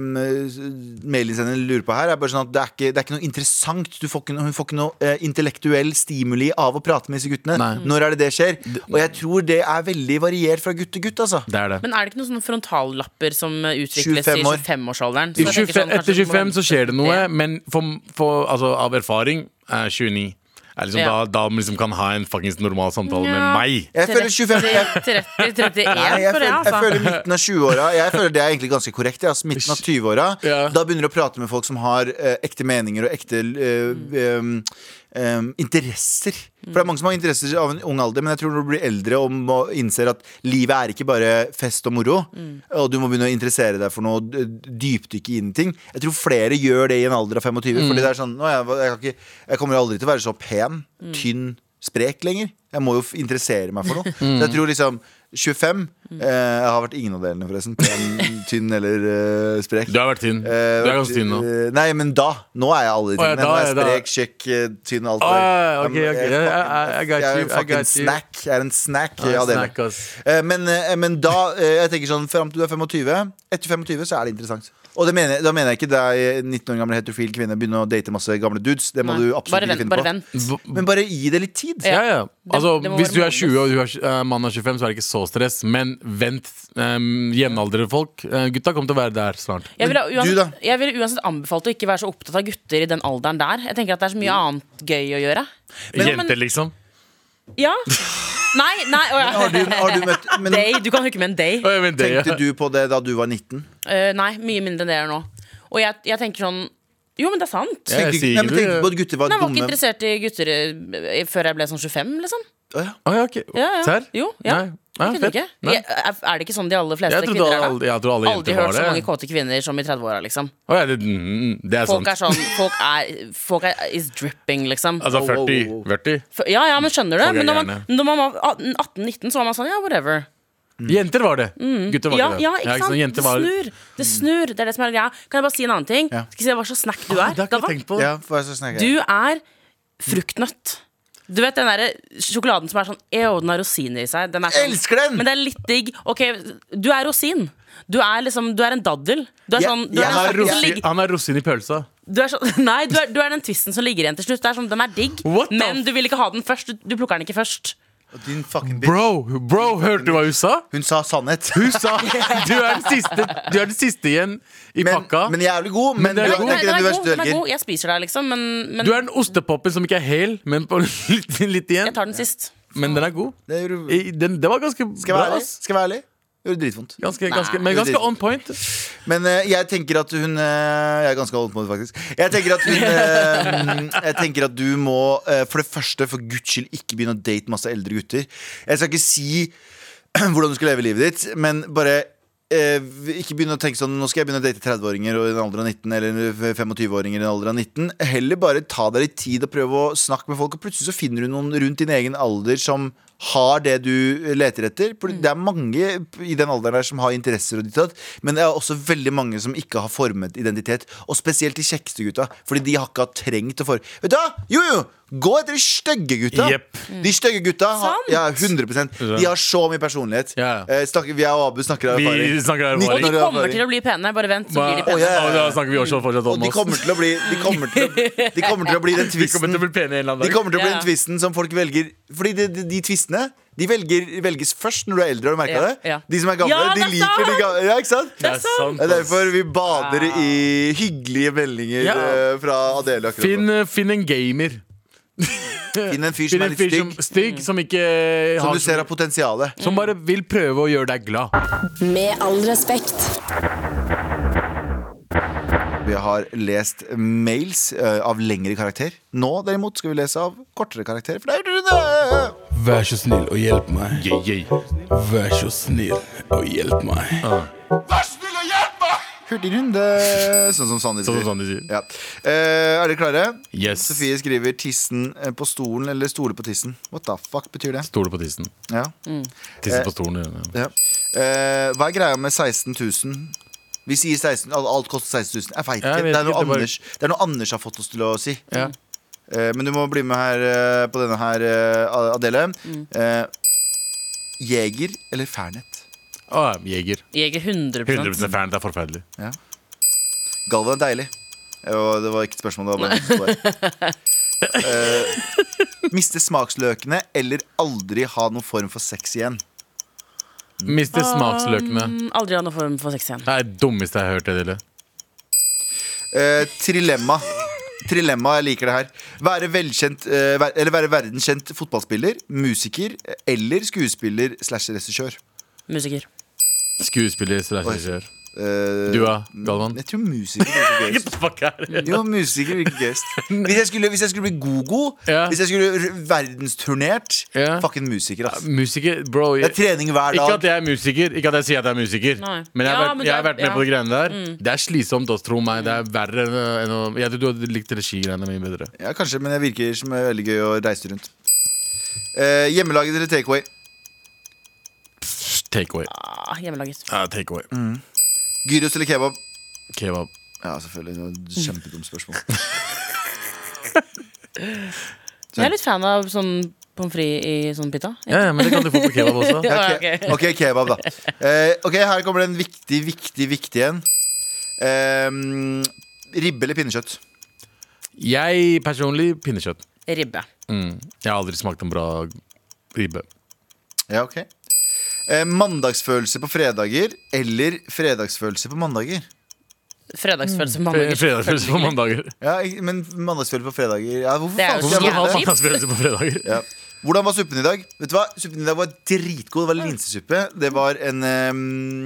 S2: um, mailinnsenderen lurer på her, er bare sånn at det er ikke, det er ikke noe interessant. Du får ikke, noe- hun får ikke noe eh, intellektuell stimuli av å prate med disse guttene. Når er det det skjer? Og jeg tror det er veldig variert fra gutt til gutt, altså.
S4: det er det.
S3: Men er det ikke noen sånne frontallapper som eh, utvikles
S2: 25 år.
S3: i 25-årsalderen?
S4: I 25, etter 25 så skjer det noe,
S3: sånn, Ja.
S4: men for, for, altså, av erfaring er 29. Er liksom,
S3: Ja.
S4: Da, da man liksom kan ha en fuckings normal samtale
S3: Ja.
S4: med meg.
S2: Jeg føler 25 jeg-
S3: 30-31
S2: Nei, jeg,
S3: for det,
S2: føler, jeg
S3: altså.
S2: føler midten av 20-åra Jeg føler det er egentlig ganske korrekt. ja, Altså midten av 20-åra
S4: Ja.
S2: Da begynner du å prate med folk som har eh, ekte meninger og ekte eh, em, em, interesser. For det er mange som har interesser av en ung alder, men jeg tror når du blir eldre og må innser at livet er ikke bare fest og moro, og du må begynne å interessere deg for noe, d- dypdykke inn i ting Jeg tror flere gjør det i en alder av 25, Fordi det er sånn nå, jeg, jeg, kan ikke, jeg kommer aldri til å være så pen, tynn, sprek lenger. Jeg må jo f- interessere meg for noe. Så jeg tror liksom 25 eh, Jeg har vært ingen av delene, forresten. Pen, tynn eller eh, sprek.
S4: Du har vært tynn.
S2: Eh,
S4: du er ganske tynn nå.
S2: eh, Nei, men da. Nå er jeg alle de
S4: Å, ja,
S2: tingene.
S4: da
S2: Nå er
S4: er
S2: jeg
S4: det-
S2: sprek, tjukk, eh, tynn, alt det Um,
S4: Ah, ok,
S2: Jeg-
S4: ok.
S2: jeg-
S4: I- I- I got
S2: Jeg er
S4: you, I
S2: en fucking
S4: got you.
S2: snack. Jeg er en snack.
S4: Ja,
S2: av delene.
S4: snack, ass.
S2: Eh, Men, eh, men da eh, Jeg tenker sånn fram til du er 25. Etter 25 så er det interessant. Og det mener, jeg- da mener jeg ikke deg, 19 år gamle heterofil kvinne, begynne å date masse gamle dudes. Det må du absolutt
S3: Bare
S2: ikke
S3: vent.
S2: finne
S3: Bare
S2: på.
S3: vent.
S2: Men bare gi det litt tid.
S4: Ja, ja. Altså,
S3: det må være
S4: hvis du er
S3: modnes.
S4: 20 og du er, eh, mannen er 25, så er det ikke så stress. Men vent, um, jevnaldrende folk. eh, gutta kommer til å være der snart.
S3: Jeg ville
S2: du da?
S3: uansett, jeg ville uansett anbefalt å ikke være så opptatt av gutter i den alderen der. Jeg tenker at det er så
S4: Mm.
S3: mye annet gøy å gjøre. Men-
S4: Jenter, liksom.
S3: Ja. Nei, nei å, ja.
S2: Har du, har du møtt men,
S3: Day. Du kan hooke med en day.
S4: Å, jeg vet det, ja.
S2: Tenkte du på det da du var 19?
S3: Eh, nei, mye mindre enn det jeg gjør nå. Og jeg, jeg tenker sånn Jo, men det er sant.
S4: Ja. Jeg
S2: Tenkte,
S4: sier
S2: nei, men
S4: ikke
S2: tenkte
S4: det.
S2: du på at gutter var
S3: Nei, jeg var ikke
S2: dumme?
S3: interessert i gutter eh, før jeg ble sånn 25, liksom.
S2: Å, ja.
S4: Å, ja, ok.
S3: Ja, ja.
S4: Serr?
S3: Jo, ja.
S4: Nei.
S3: Jeg kunne
S4: fett.
S3: ikke.
S4: Nei.
S3: Jeg, er er det ikke sånn de aller fleste
S4: Jeg trodde
S3: kvinner er
S4: alle-
S3: da?
S4: jeg tror alle
S3: Aldri
S4: jenter var
S3: hørt så
S4: det.
S3: mange kåte kvinner som i 30-åra, liksom.
S4: Å, ja, det, mm, det er
S3: Folk
S4: sant.
S3: er sånn Folk er, folk er is dripping, liksom.
S4: Altså 40. 40.
S3: For- Ja, ja, men skjønner du?
S4: Folk er
S3: Men når man,
S4: gærne.
S3: når man var 18-19, så var man sånn, ja, whatever.
S4: Mm. Jenter var det. Gutter
S3: Mm.
S4: var
S3: Ja,
S4: ikke det.
S3: ja, ikke sant?
S4: Jenter
S3: Det
S4: var... Mm.
S3: snur. Det snur. Det er det som er greia. Kan jeg bare si en annen ting? Skal vi se hva slags snack du er?
S4: Ah, Det har ikke
S3: Galvan?
S4: jeg tenkt på.
S2: Ja, for jeg skal snakke.
S3: Du er fruktnøtt. Du vet den der sjokoladen som er sånn Eo, den har rosiner i seg. Den er sånn,
S2: Elsker den!
S3: Men det er litt digg. Ok, du er rosin. Du er liksom Du er en daddel. Du er
S2: Jeg-
S3: sånn Du
S2: jeg
S3: er,
S2: har
S3: den
S4: Han er
S3: som
S2: rosin-
S4: rosin-
S3: ligger-
S4: Han er rosin i pølsa.
S3: du er sånn Nei, du er, du er den twisten som ligger igjen til slutt. Det er sånn, Den er digg,
S4: What the
S3: men du vil ikke ha den først. Du, du plukker den ikke først.
S2: Og Din fucking bitch.
S4: Bro, bro, hørte du hva hun sa?
S2: Hun sa sannhet.
S4: Hun sa du er den siste, du er den siste igjen i
S2: Men,
S4: pakka.
S2: men jævlig god. Men,
S4: den er
S2: det
S4: god.
S2: er ikke
S3: den
S2: den
S3: er
S2: du
S3: god,
S2: verste
S3: den er
S2: velger.
S3: god. Jeg spiser deg, liksom, men, men
S4: du er den ostepoppen som ikke er hel, men, på litt, litt igjen.
S3: jeg tar den sist.
S4: Men den er god.
S2: Det gjorde-
S4: I- Den, det var ganske
S2: Skal jeg
S4: bra.
S2: være ærlig?
S4: ass.
S2: Skal jeg være ærlig? Gjorde dritvondt.
S4: Ganske, ganske, men
S2: det er
S4: ganske on point.
S2: Men eh, jeg tenker at hun eh, Jeg er ganske holdt på det, faktisk. Jeg tenker at hun eh, Jeg tenker at du må, eh, for det første, for guds skyld, ikke begynne å date masse eldre gutter. Jeg skal ikke si hvordan du skal leve livet ditt, men bare eh, ikke begynne å tenke sånn Nå skal jeg begynne å date 30-åringer og i en alder av 19 Eller 25-åringer i en alder av 19 Heller bare ta deg litt tid og prøve å snakke med folk Og plutselig så finner du noen rundt din egen alder Som har det du leter etter For det er mange i den alderen der som har interesser og ditt og datt, Men det er også veldig mange som ikke har formet identitet Og spesielt de kjekkeste gutta Fordi de har ikke hatt trengt å for Vet du hva? Jo jo! Gå etter de stygge gutta!
S4: Jepp.
S2: De stygge gutta har,
S3: Sant.
S2: ja, 100 De har så mye personlighet.
S4: Ja.
S2: Eh, snakker, vi og Abu snakker av
S4: Vi
S2: erfaring.
S4: snakker av
S2: 19
S4: erfaring.
S3: Og de
S2: år
S3: kommer
S2: erfaring.
S3: til å bli pene. Bare vent, så
S4: Hva-
S3: blir
S2: Å,
S3: de pene.
S2: ja, ja,
S4: Og
S2: ja.
S4: da snakker vi også fortsatt
S2: Og
S4: om
S2: de
S4: oss.
S2: kommer til å bli De kommer til å, de kommer til å bli den
S4: Vi kommer
S2: tvisten
S4: til å bli pene en eller annen
S2: De
S4: dag.
S2: kommer til å bli
S3: Ja.
S2: den tvisten som folk velger Fordi de, de, de tvistene De velger, velges først når du er eldre Har du merket
S3: Ja,
S2: det?
S3: ja.
S2: De som er gamle,
S3: Ja, det
S2: de
S3: er
S2: liker de
S3: sant!
S2: gamle Ja, ikke sant?
S4: Det er sant.
S2: Det er
S4: ass.
S2: derfor vi bader i hyggelige meldinger
S4: Ja.
S2: eh, Fra Adele akkurat
S4: Finn,
S2: nå.
S4: eh, finn en gamer.
S2: Finn en fyr
S4: Finn
S2: som
S4: en
S2: er litt
S4: fyr som
S2: stygg
S4: stygg, som ikke
S2: Som
S4: har
S2: du ser har potensiale
S4: Som bare vil prøve å gjøre deg glad.
S5: Med all respekt.
S2: Vi har lest mails eh, av lengre karakter Nå derimot skal vi lese av kortere karakter For det er jo det
S7: Vær så snill og hjelp meg. Vær så snill og hjelp meg.
S2: Hurtigrunde, sånn som Sandy sier.
S4: Sånn som Sandy sier.
S2: Ja. Eh, er dere klare?
S4: Yes.
S2: Sofie skriver 'tissen eh, på stolen' eller 'stole på tissen'. What the fuck betyr det?
S4: Stole på tissen.
S2: Ja.
S4: Tissen på stolen. ja.
S2: ja. Eh, hva er greia med 16 000? Vi sier 16, al- alt koster 16 000. Jeg veit
S4: Jeg
S2: ikke. Det
S4: vet
S2: er,
S4: ikke,
S2: noe
S4: det bare-
S2: Anders, det er noe Anders har fått oss til å si.
S4: Ja.
S2: Eh, men du må bli med her eh, på denne her, eh, Adele. Eh, Jeger eller Fernet?
S4: Å, jeger.
S3: Jeger 100,
S4: 100 fan. Det er forferdelig.
S2: Galvan er deilig. Eh, Og det var ikke et spørsmål, det var bare et svar. Eh, miste smaksløkene eller aldri ha noen form for sex igjen.
S4: Mister smaksløkene.
S3: Mm, Aldri ha noen form for sex igjen.
S4: Det er det dummeste jeg har hørt. det dille.
S2: Eh, trilemma. Trilemma, jeg liker det her. Være velkjent eh, ver- Eller være verdenskjent fotballspiller, musiker eh, eller skuespiller slash regissør.
S3: Musiker.
S4: Skuespiller slash regissør.
S2: Eh,
S4: Du da, Galvan?
S2: Jeg tror musiker virker gøyest.
S4: Fuck er det?
S2: Jo, musiker virker gøyest. Hvis jeg skulle, hvis jeg skulle bli god-god,
S4: Ja.
S2: hvis jeg skulle r- verdensturnert,
S4: Ja.
S2: fucking musiker, ass.
S4: Musiker, bro.
S2: Det
S4: Jeg,
S2: er trening hver
S4: ikke at
S2: dag.
S4: jeg er musiker, ikke at jeg sier at jeg er musiker.
S3: Nei.
S4: Men jeg har
S3: Ja,
S4: vært,
S3: men
S4: jeg
S3: det er-
S4: har vært med
S3: ja. Mm.
S4: på de greiene der. Det er slitsomt, ass, tro meg. Det er verre enn å- enn å Jeg tror du hadde likt regigreiene mine bedre.
S2: Ja, kanskje, men det virker som er veldig gøy å reise rundt. Eh, hjemmelaget eller takeaway?
S4: Take away.
S3: Ah, hjemmelaget.
S4: Ja, take away.
S2: Gyros eller kebab?
S4: Kebab.
S2: Ja, selvfølgelig. det var et Kjempedumt spørsmål.
S3: Jeg er litt fan av sånn pommes frites i sånn pita.
S4: Ja, ja, men det kan du få på kebab også.
S3: Ja,
S2: Ok,
S3: ok.
S2: ok, kebab, da. Eh, ok, Her kommer det en viktig, viktig, viktig en. Ehm, ribbe eller pinnekjøtt?
S4: Jeg personlig pinnekjøtt.
S3: Ribbe.
S4: Mm. Jeg har aldri smakt en bra ribbe.
S2: Ja, ok Eh, Mandagsfølelse på fredager eller fredagsfølelse på mandager?
S3: Fredagsfølelse på
S4: Fre-
S3: mandager.
S4: Fredagsfølelse på mandager.
S2: Ja, ik- Men mandagsfølelse på fredager ja, Hvorfor
S3: Det er
S2: faen
S3: jo
S2: skal jeg
S3: jævla
S4: Hvorfor ha
S2: vite det?
S3: kjipt.
S4: mandagsfølelse på fredager?
S2: Ja. Hvordan var suppen i dag? Vet du hva? Suppen i dag var dritgod. Det var linsesuppe. Det var en ehm,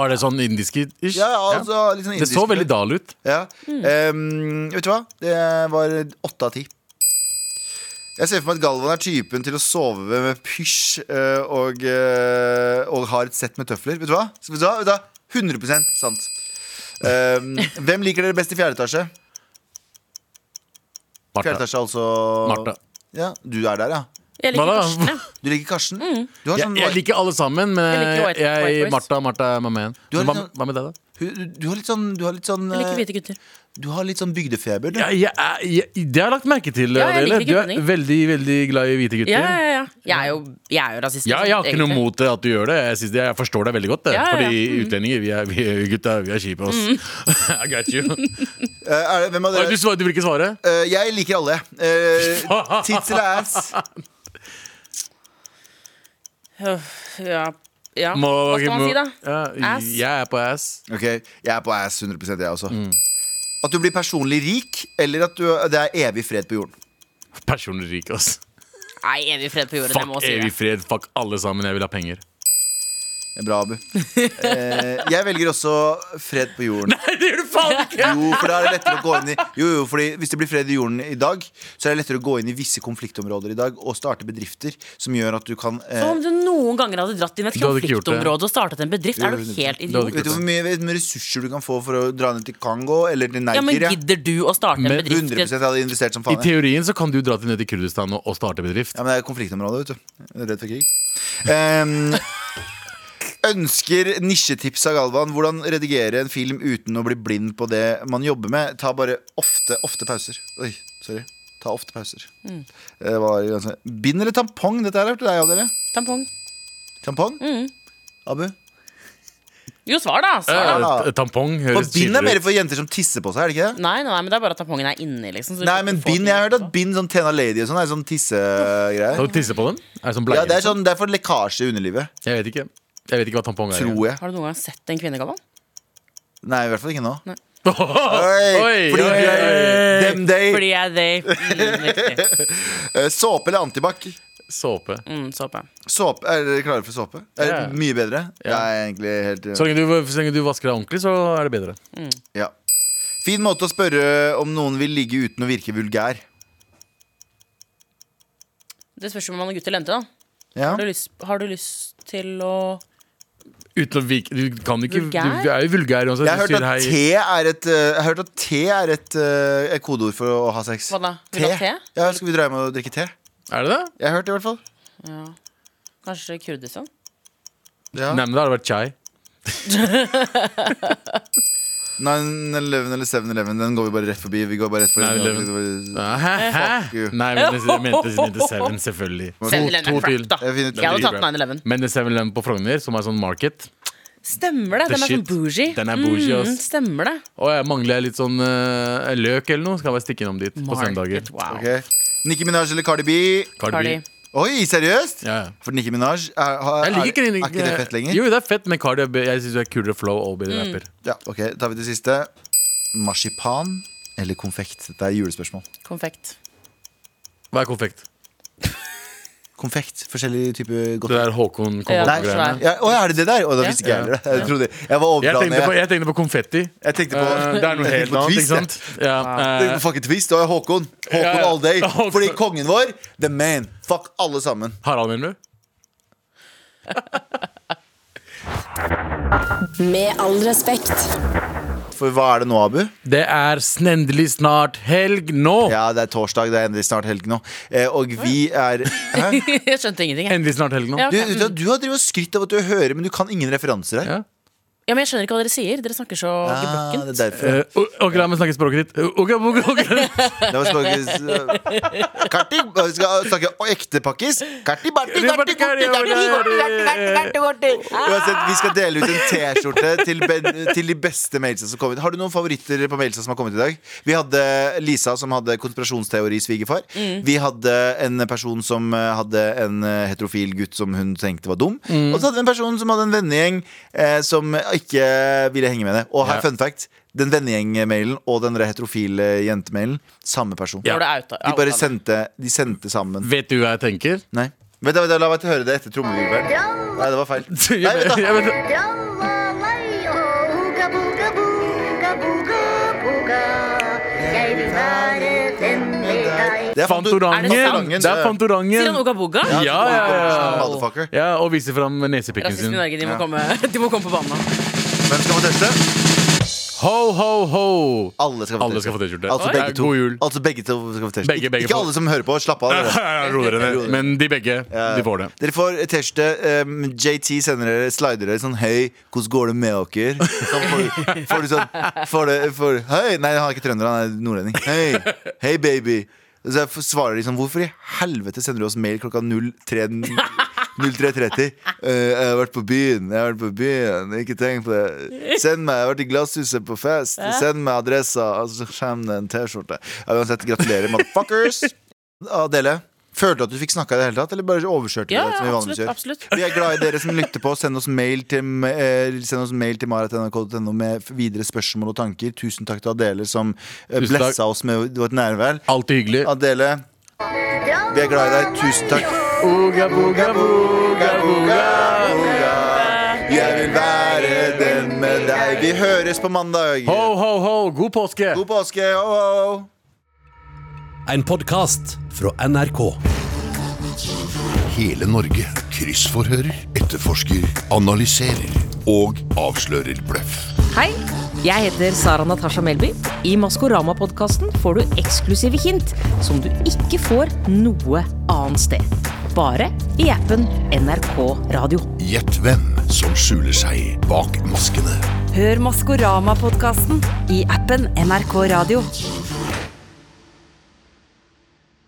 S4: Var det sånn indisk-ish?
S2: Ja, ja, altså, litt sånn
S4: Det så veldig dal ut.
S2: Ja.
S4: Mm.
S2: Ehm, vet du hva? Det var åtte av ti. Jeg ser for meg at Galvan er typen til å sove med pysj eh, og, eh, og har et sett med tøfler. Vet du hva? Så Vet du hva? Vet du hva? 100 sant. Ehm, hvem liker dere best i fjerde etasje? Fjerde
S4: Martha.
S2: etasje, altså
S4: Martha.
S2: Ja, du er der, ja.
S3: Jeg
S4: Hva
S3: liker
S4: da?
S3: Karsten. jeg.
S2: Du liker Karsten? Du har
S4: Mm. Jeg,
S2: sånn
S4: jeg liker alle sammen, men
S3: Jeg liker white-
S4: jeg,
S3: white boys.
S4: Martha, Martha er my man.
S2: Du har litt
S4: Men Hva,
S2: sånn-
S4: hva med deg, da?
S2: du, du har litt sånn, du har litt sånn,
S3: Jeg liker
S2: eh,
S3: hvite gutter.
S2: du har litt sånn bygdefeber. Du.
S4: Ja, jeg, er- jeg, det har jeg lagt merke til.
S3: Ja, jeg liker
S4: Adele. du er
S3: guttene.
S4: veldig veldig glad i hvite gutter.
S3: Ja, ja, ja. Jeg er jo, jeg er jo rasist.
S4: Ja, jeg har ikke noe
S3: egentlig.
S4: mot det at du gjør det. Jeg, synes det, jeg forstår deg veldig godt. Det.
S3: Ja, ja, Mm. ja.
S4: Fordi utlendinger, vi er, vi er gutta, vi er kjipe, ass.
S3: Mm.
S4: I got you.
S2: Eh, er det, hvem av
S4: Oi,
S2: dere?
S4: du, svar, du vil ikke svare?
S2: Eh, jeg liker alle. Uh, tits eller ass?
S3: Ja, ja.
S4: Må-
S3: Hva skal man
S4: må-
S3: si, da?
S4: Ja,
S3: Ass.
S4: jeg er på ass.
S2: Ok, Jeg er på ass 100 jeg også. At du blir personlig rik, eller at du, det er evig fred på jorden.
S4: Personlig rik, ass.
S3: Nei, evig fred på jorden. Jeg
S4: Fuck
S3: må si
S4: evig
S3: det.
S4: fred, fuck alle sammen. Jeg vil ha penger.
S2: Bra, Abu. Eh, jeg velger også fred på jorden.
S4: Nei, det gjør du faen ikke!
S2: Jo, for da er det lettere å gå inn i Jo, jo, fordi Hvis det blir fred i jorden i dag, så er det lettere å gå inn i visse konfliktområder i dag og starte bedrifter som gjør at du kan eh,
S3: Om du noen ganger hadde dratt inn et
S4: Du hadde ikke gjort det.
S3: konfliktområde og startet en bedrift, er du
S2: Jo,
S3: helt
S4: hadde ikke
S3: idiot.
S2: Vet du hvor mye, vet du hvor mye ressurser du kan få for å dra ned til Kongo eller til
S3: Ja, men
S2: Nigeria?
S3: gidder du å starte en
S4: Men
S3: bedrift?
S2: 100 jeg hadde investert som
S4: I
S2: faen. jeg.
S4: teorien så kan du dra til ned til Kurdistan og, og starte bedrift.
S2: Ja, men det er konfliktområdet, vet du. Jeg er Redd for krig. Ehm, ønsker nisjetips av Galvan. Hvordan redigere en film uten å bli blind på det man jobber med? Ta bare ofte, ofte pauser. Oi, sorry. Ta ofte pauser. Det var ganske- Bind eller tampong? Dette her er til deg og dere.
S3: Tampong.
S2: Tampong? Abu?
S3: Jo, svar, da. Svar, da.
S2: da.
S4: Eh, Tampong
S2: Og
S4: høres
S2: bind er mer
S4: chillere ut.
S2: for jenter som tisser på seg, er det ikke det?
S3: Nei, nei, nei, men det er bare at tampongen er inni, liksom. så du
S2: Nei,
S3: ikke
S2: men
S3: får
S2: bind,
S3: den
S2: jeg har hørt
S3: ut,
S2: at bind sånn Tena Lady og sånn er sånn tissegreier.
S4: Kan du tisse på dem? Er det
S2: Ja,
S4: sånn bleie?
S2: det er sånn, det er for lekkasje i underlivet,
S4: Jeg vet ikke. Jeg vet ikke hva tampong er.
S2: tror jeg.
S3: da. Har du noen gang sett en kvinnegavan?
S2: Nei, i hvert fall ikke nå.
S4: Oi,
S2: Oi, fordi
S4: oi,
S2: vi er-
S4: oi.
S2: Dem day.
S3: Fordi jeg they mm, Riktig.
S2: Eh, Såpe eller antibac?
S4: Såpe.
S3: Mm, såpe.
S2: Såpe, Er dere klare for såpe? Er
S4: Ja.
S2: det mye bedre? Jeg er egentlig helt eh,
S4: Så lenge, du, så lenge du vasker deg ordentlig, så er det bedre.
S2: Ja. Fin måte å spørre om noen vil ligge uten å virke vulgær.
S3: Det spørs jo om man er gutt eller jente, da.
S2: Ja.
S3: Har du lyst, har du lyst til å
S4: Uten å virke Du kan ikke
S3: Vulgær?
S4: Du er jo vulgær uansett.
S2: Jeg har
S4: Du
S2: hørt at
S4: sier hei.
S2: T er et, eh, jeg har hørt at T er et, eh, et kodeord for å ha sex.
S3: Hva da? Vil du ha te?
S2: Ja, Skal vi dra hjem og drikke te?
S4: Er det det?
S2: Jeg har hørt det, i hvert fall.
S3: Ja. Kanskje Kurdistan?
S2: Ja.
S4: Nei, men da har det vært chai.
S2: 9-11 eller 7-Eleven, den går vi bare rett forbi. Vi går bare rett forbi
S4: 9-11.
S2: Jeg
S4: Hæ? Hæ?
S2: Fuck you.
S4: Nei, men det jeg mente Nintendo 7, selvfølgelig. To,
S3: 7-Eleven er
S4: to
S3: crap,
S4: til.
S3: da.
S2: finner ut
S3: Jeg hadde
S4: blir
S3: tatt
S4: crap.
S3: 9-11.
S4: Men 7-Eleven på Frogner, som er sånn market
S3: Stemmer det.
S4: The
S3: Den er
S4: shit.
S3: sånn bougie. Mm,
S4: Den er bougie, ass.
S3: stemmer det.
S4: Og jeg mangler litt sånn eh, løk eller noe. Skal jeg bare stikke innom dit på søndager.
S3: Market, wow.
S2: Ok. Nicki Minaj eller Cardi B?
S4: Cardi B.
S2: Oi, seriøst?
S4: Ja, ja.
S2: For Nicki Minaj er, har-
S4: Jeg liker ikke
S2: er, er ikke det fett lenger?
S4: Jo, det er fett, men Cardi B Jeg syns du er kulere flow og bedre rapper.
S2: Ja, ok, tar vi det siste. Marsipan eller konfekt? Dette er julespørsmål.
S3: Konfekt.
S4: Hva er konfekt?
S2: Konfekt. Forskjellige typer
S4: Det
S2: godteri.
S4: der Håkon
S3: Ja,
S2: Nei,
S4: Konfekt-greiene.
S3: svær.
S2: ja, å, er det det der? Å, da visste ikke jeg heller det. Jeg, trodde, jeg var
S4: Jeg, tenkte på-
S2: overblandet.
S4: jeg tenkte på konfetti.
S2: Jeg tenkte på,
S4: Eh, det er
S2: jeg
S4: noe
S2: tenkte
S4: helt
S2: på
S4: annet,
S2: twist,
S4: ikke sant? Ja,
S2: jeg.
S4: eh,
S2: Tenkte på Fucking twist, og Håkon. Håkon
S4: Ja, ja.
S2: all day.
S4: Håkon.
S2: Fordi kongen vår, the man. Fuck alle sammen.
S4: Harald, mener du?
S5: Med all respekt.
S2: For hva er det nå, Abu?
S4: Det er snendelig snart helg nå!
S2: Ja, det er torsdag, det er endelig snart helg nå. Eh, og vi er Hæ?
S3: Jeg skjønte ingenting. Jeg.
S4: Endelig snart helg nå.
S3: Ja. mm.
S2: Du, du, du har drevet og skrytt av at du hører, men du kan ingen referanser her.
S4: Ja.
S3: Ja, men jeg skjønner ikke hva dere sier. Dere snakker så
S2: Ah,
S3: gebrokkent.
S2: det er derfor.
S4: Eh, o- ok, la meg snakke språket ditt. Eh, Ok, ok, ok
S2: Det var språket Karti, vi skal snakke ekte pakkis. Karti, barti, karti, korti, karti, korti, karti, karti, karti, korti. Uansett, vi skal dele ut en T-skjorte til, ben- til de beste mailsa som kom ut. Har du noen favoritter på mailsa som har kommet i dag? Vi hadde Lisa som hadde konspirasjonsteori svigerfar. Vi hadde en person som eh, hadde en eh, heterofil gutt som hun tenkte var dum. Og så hadde vi en person som hadde en vennegjeng eh, som ikke ville henge med det. Og her,
S4: Ja.
S2: fun fact. Den vennegjeng-mailen og den der heterofile jentemailen, samme person.
S3: Når det er outa-
S2: De bare
S3: outa-
S2: sendte, de sendte sammen.
S4: Vet du hva jeg tenker?
S2: Nei. Vent, da, vent, da, la meg høre det etter trommevirvelen. Nei, det var feil.
S4: Jeg
S2: Nei, vent
S4: vet-
S2: da.
S4: jeg vet-
S8: Jeg vil være den med deg.
S2: Det er
S3: Er
S4: Fantorangen!
S3: det sant?
S4: Det er
S3: Sier han
S4: Fantorangen!
S3: Oga Boga?
S4: Ja, ja, ja, ja.
S2: Motherfucker.
S4: ja og viser fram nesepikken
S3: Rasismen i
S4: sin.
S3: Norge, de må, komme, de må komme på banen. nå.
S2: Hvem skal få teste?
S4: Ho, ho, ho!
S2: Alle skal få
S4: Alle
S2: teste.
S4: skal få T-skjorte.
S2: Altså
S4: Oi.
S2: begge to.
S4: God jul.
S2: Altså begge to skal få teste.
S4: Begge,
S2: Ik-
S4: begge
S2: Ikke
S4: får-
S2: alle som hører på. Slapp av. dere.
S4: Roligere ned. Men de begge, de får det.
S2: Dere får T-skjorte. Um, JT sender dere slidere sånn Hei, hvordan går det med dere? Så får, får du sånn får det, får, Hei! Nei, han er ikke trønder, han er nordlending. Hei, hei baby. Og Så f- svarer de sånn Hvorfor i helvete sender du oss mail klokka 03 03.30? Eh, jeg har vært på byen, jeg har vært på byen. Ikke tenk på det. Send meg, jeg har vært i Glasshuset på fest. Send meg adressa, og så kommer det en T-skjorte. Ja, Uansett, gratulerer, motherfuckers. Adele, følte du at du fikk snakka i det hele tatt, eller bare overkjørte du
S3: Ja,
S2: det? som vi
S3: ja,
S2: vanligvis
S3: absolutt,
S2: gjør?
S3: absolutt.
S2: Vi er glad i dere som lytter på. Send oss mail til, eh, send oss mail til maratnrk.no med videre spørsmål og tanker. Tusen takk til Adele som eh,
S4: Tusen takk.
S2: blessa oss med vårt nærvær.
S4: Alltid hyggelig.
S2: Adele, vi er glad i deg. Tusen takk.
S4: Oga, boga, boga, boga.
S2: Jeg vil være den med deg. Vi høres på mandag.
S4: Ho, ho, ho! God påske!
S2: God påske. Ho, ho, ho.
S9: En podkast fra NRK.
S10: Hele Norge kryssforhører, etterforsker, analyserer og avslører bløff.
S11: Hei, jeg heter Sara Natasha Melby. I Maskorama-podkasten får du eksklusive hint som du ikke får noe annet sted. Bare i appen NRK Radio.
S10: Gjett hvem som skjuler seg bak maskene.
S1: Hør Maskorama-podkasten i appen NRK Radio.